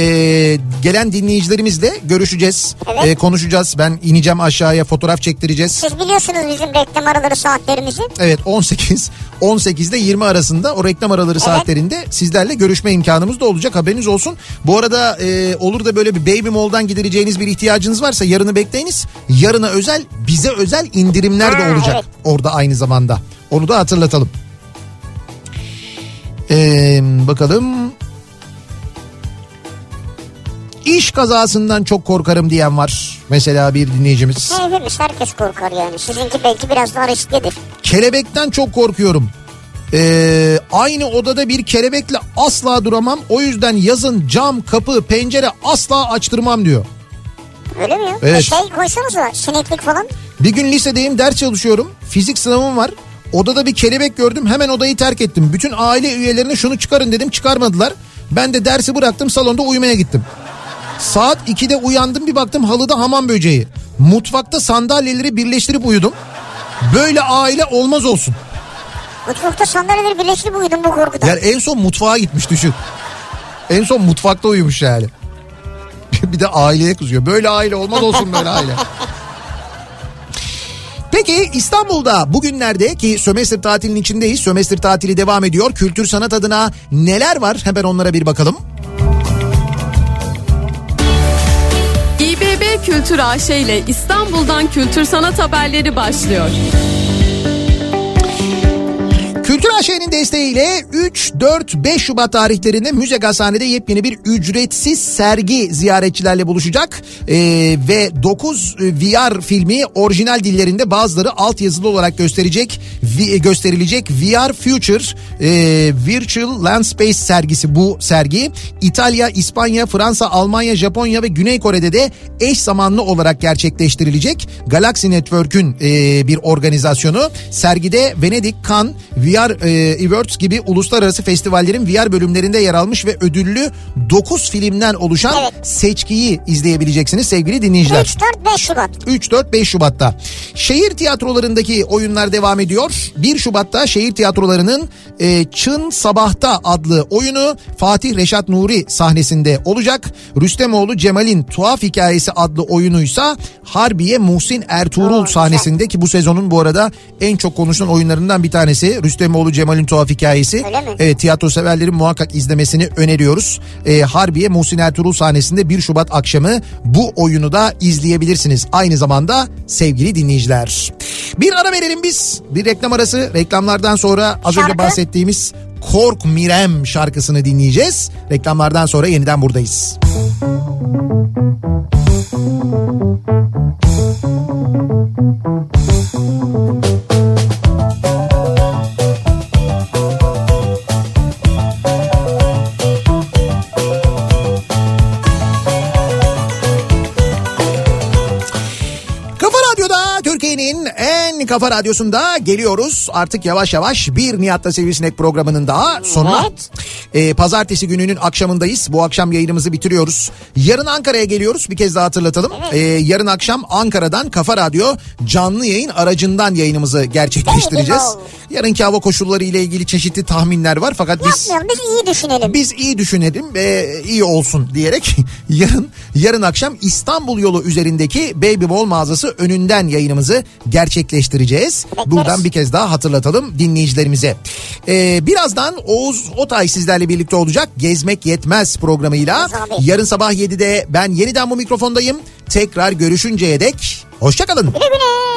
gelen dinleyicilerimizle görüşeceğiz.
Evet.
E, konuşacağız. Ben ineceğim aşağıya fotoğraf çektireceğiz.
Siz biliyorsunuz bizim reklam araları saatlerimizi.
Evet 18 18 ile 20 arasında o reklam araları saatlerinde sizlerle görüşme imkanımız da olacak haberiniz olsun. Bu arada e, olur da böyle bir Baby Mall'dan gidereceğiniz bir ihtiyacınız varsa yarını bekleyiniz. Yarına özel bize özel indirimler de
Ha,
olacak
evet.
orada aynı zamanda. Onu da hatırlatalım. Ee, bakalım. İş kazasından çok korkarım diyen var. Mesela bir dinleyicimiz.
Hepimiz Şey herkes korkar yani. Sizinki belki biraz daha risklidir.
Kelebekten çok korkuyorum. Ee, aynı odada bir kelebekle asla duramam. O yüzden yazın cam, kapı, pencere asla açtırmam diyor.
Öyle mi ya?
Evet.
E şey koysanıza sineklik falan.
Bir gün lisedeyim ders çalışıyorum. Fizik sınavım var. Odada bir kelebek gördüm hemen odayı terk ettim. Bütün aile üyelerine şunu çıkarın dedim çıkarmadılar. Ben de dersi bıraktım salonda uyumaya gittim. Saat 2'de uyandım bir baktım halıda hamam böceği. Mutfakta sandalyeleri birleştirip uyudum. Böyle aile olmaz olsun.
Mutfakta sandalyeleri birleştirip uyudum bu korkudan.
Yani en son mutfağa gitmiş düşün. En son mutfakta uyumuş yani. (laughs) bir de aileye kızıyor. Böyle aile olmaz olsun böyle aile. (laughs) Peki İstanbul'da bugünlerde ki sömestr tatilinin içindeyiz. Sömestr tatili devam ediyor. Kültür sanat adına neler var? Hemen onlara bir bakalım.
İBB Kültür AŞ ile İstanbul'dan kültür sanat haberleri başlıyor.
Kültür AŞ'nin desteğiyle 3, 4, 5 Şubat tarihlerinde Müze Gazhane'de yepyeni bir ücretsiz sergi ziyaretçilerle buluşacak. Ee, ve 9 VR filmi orijinal dillerinde bazıları altyazılı olarak gösterecek vi- e, gösterilecek VR Future e, Virtual Land Space sergisi bu sergi. İtalya, İspanya, Fransa, Almanya, Japonya ve Güney Kore'de de eş zamanlı olarak gerçekleştirilecek. Galaxy Network'ün e, bir organizasyonu. Sergide Venedik, Cannes, VR e, Awards gibi uluslararası festivallerin VR bölümlerinde yer almış ve ödüllü 9 filmden oluşan
Evet.
seçkiyi izleyebileceksiniz sevgili dinleyiciler.
3, 4, 5 Şubat.
3, 4, 5 Şubat'ta. Şehir tiyatrolarındaki oyunlar devam ediyor. 1 Şubat'ta şehir tiyatrolarının e, Çın Sabah'ta adlı oyunu Fatih Reşat Nuri sahnesinde olacak. Rüstemoğlu Cemal'in Tuhaf Hikayesi adlı oyunuysa Harbiye Muhsin Ertuğrul sahnesinde ki bu sezonun bu arada en çok konuşulan oyunlarından bir tanesi. Rüstemoğlu Cemal'in Tuhaf Hikayesi.
Öyle mi?
Evet E, tiyatro severlerin muhakkak izlemesini öneriyoruz. Ee, Harbiye Muhsin Ertuğrul sahnesinde 1 Şubat akşamı bu oyunu da izleyebilirsiniz. Aynı zamanda sevgili dinleyiciler. Bir ara verelim biz. Bir reklam arası. Reklamlardan sonra az önce
Şarkı?
bahsettiğimiz Kork Mirem şarkısını dinleyeceğiz. Reklamlardan sonra yeniden buradayız. Kafa Radyo'da Türkiye'nin en kafa radyosunda geliyoruz. Artık yavaş yavaş bir Nihat'la Sivrisinek programının daha sonuna. Ee, pazartesi gününün akşamındayız. Bu akşam yayınımızı bitiriyoruz. Yarın Ankara'ya geliyoruz. Bir kez daha hatırlatalım. Ee, yarın akşam Ankara'dan Kafa Radyo canlı yayın aracından yayınımızı gerçekleştireceğiz.
Eyvah.
Yarınki hava koşulları ile ilgili çeşitli tahminler var fakat biz
Yapmayalım biz iyi düşünelim.
biz iyi düşünelim ve iyi olsun diyerek (laughs) yarın yarın akşam İstanbul yolu üzerindeki Baby Ball mağazası önünden yayınımızı gerçekleştireceğiz.
Bekleriz.
Buradan bir kez daha hatırlatalım dinleyicilerimize. Ee, birazdan Oğuz Otay sizlerle birlikte olacak Gezmek Yetmez programıyla.
Oğuz abi.
Yarın sabah 7'de ben yeniden bu mikrofondayım. Tekrar görüşünceye dek hoşçakalın.
Güle güle.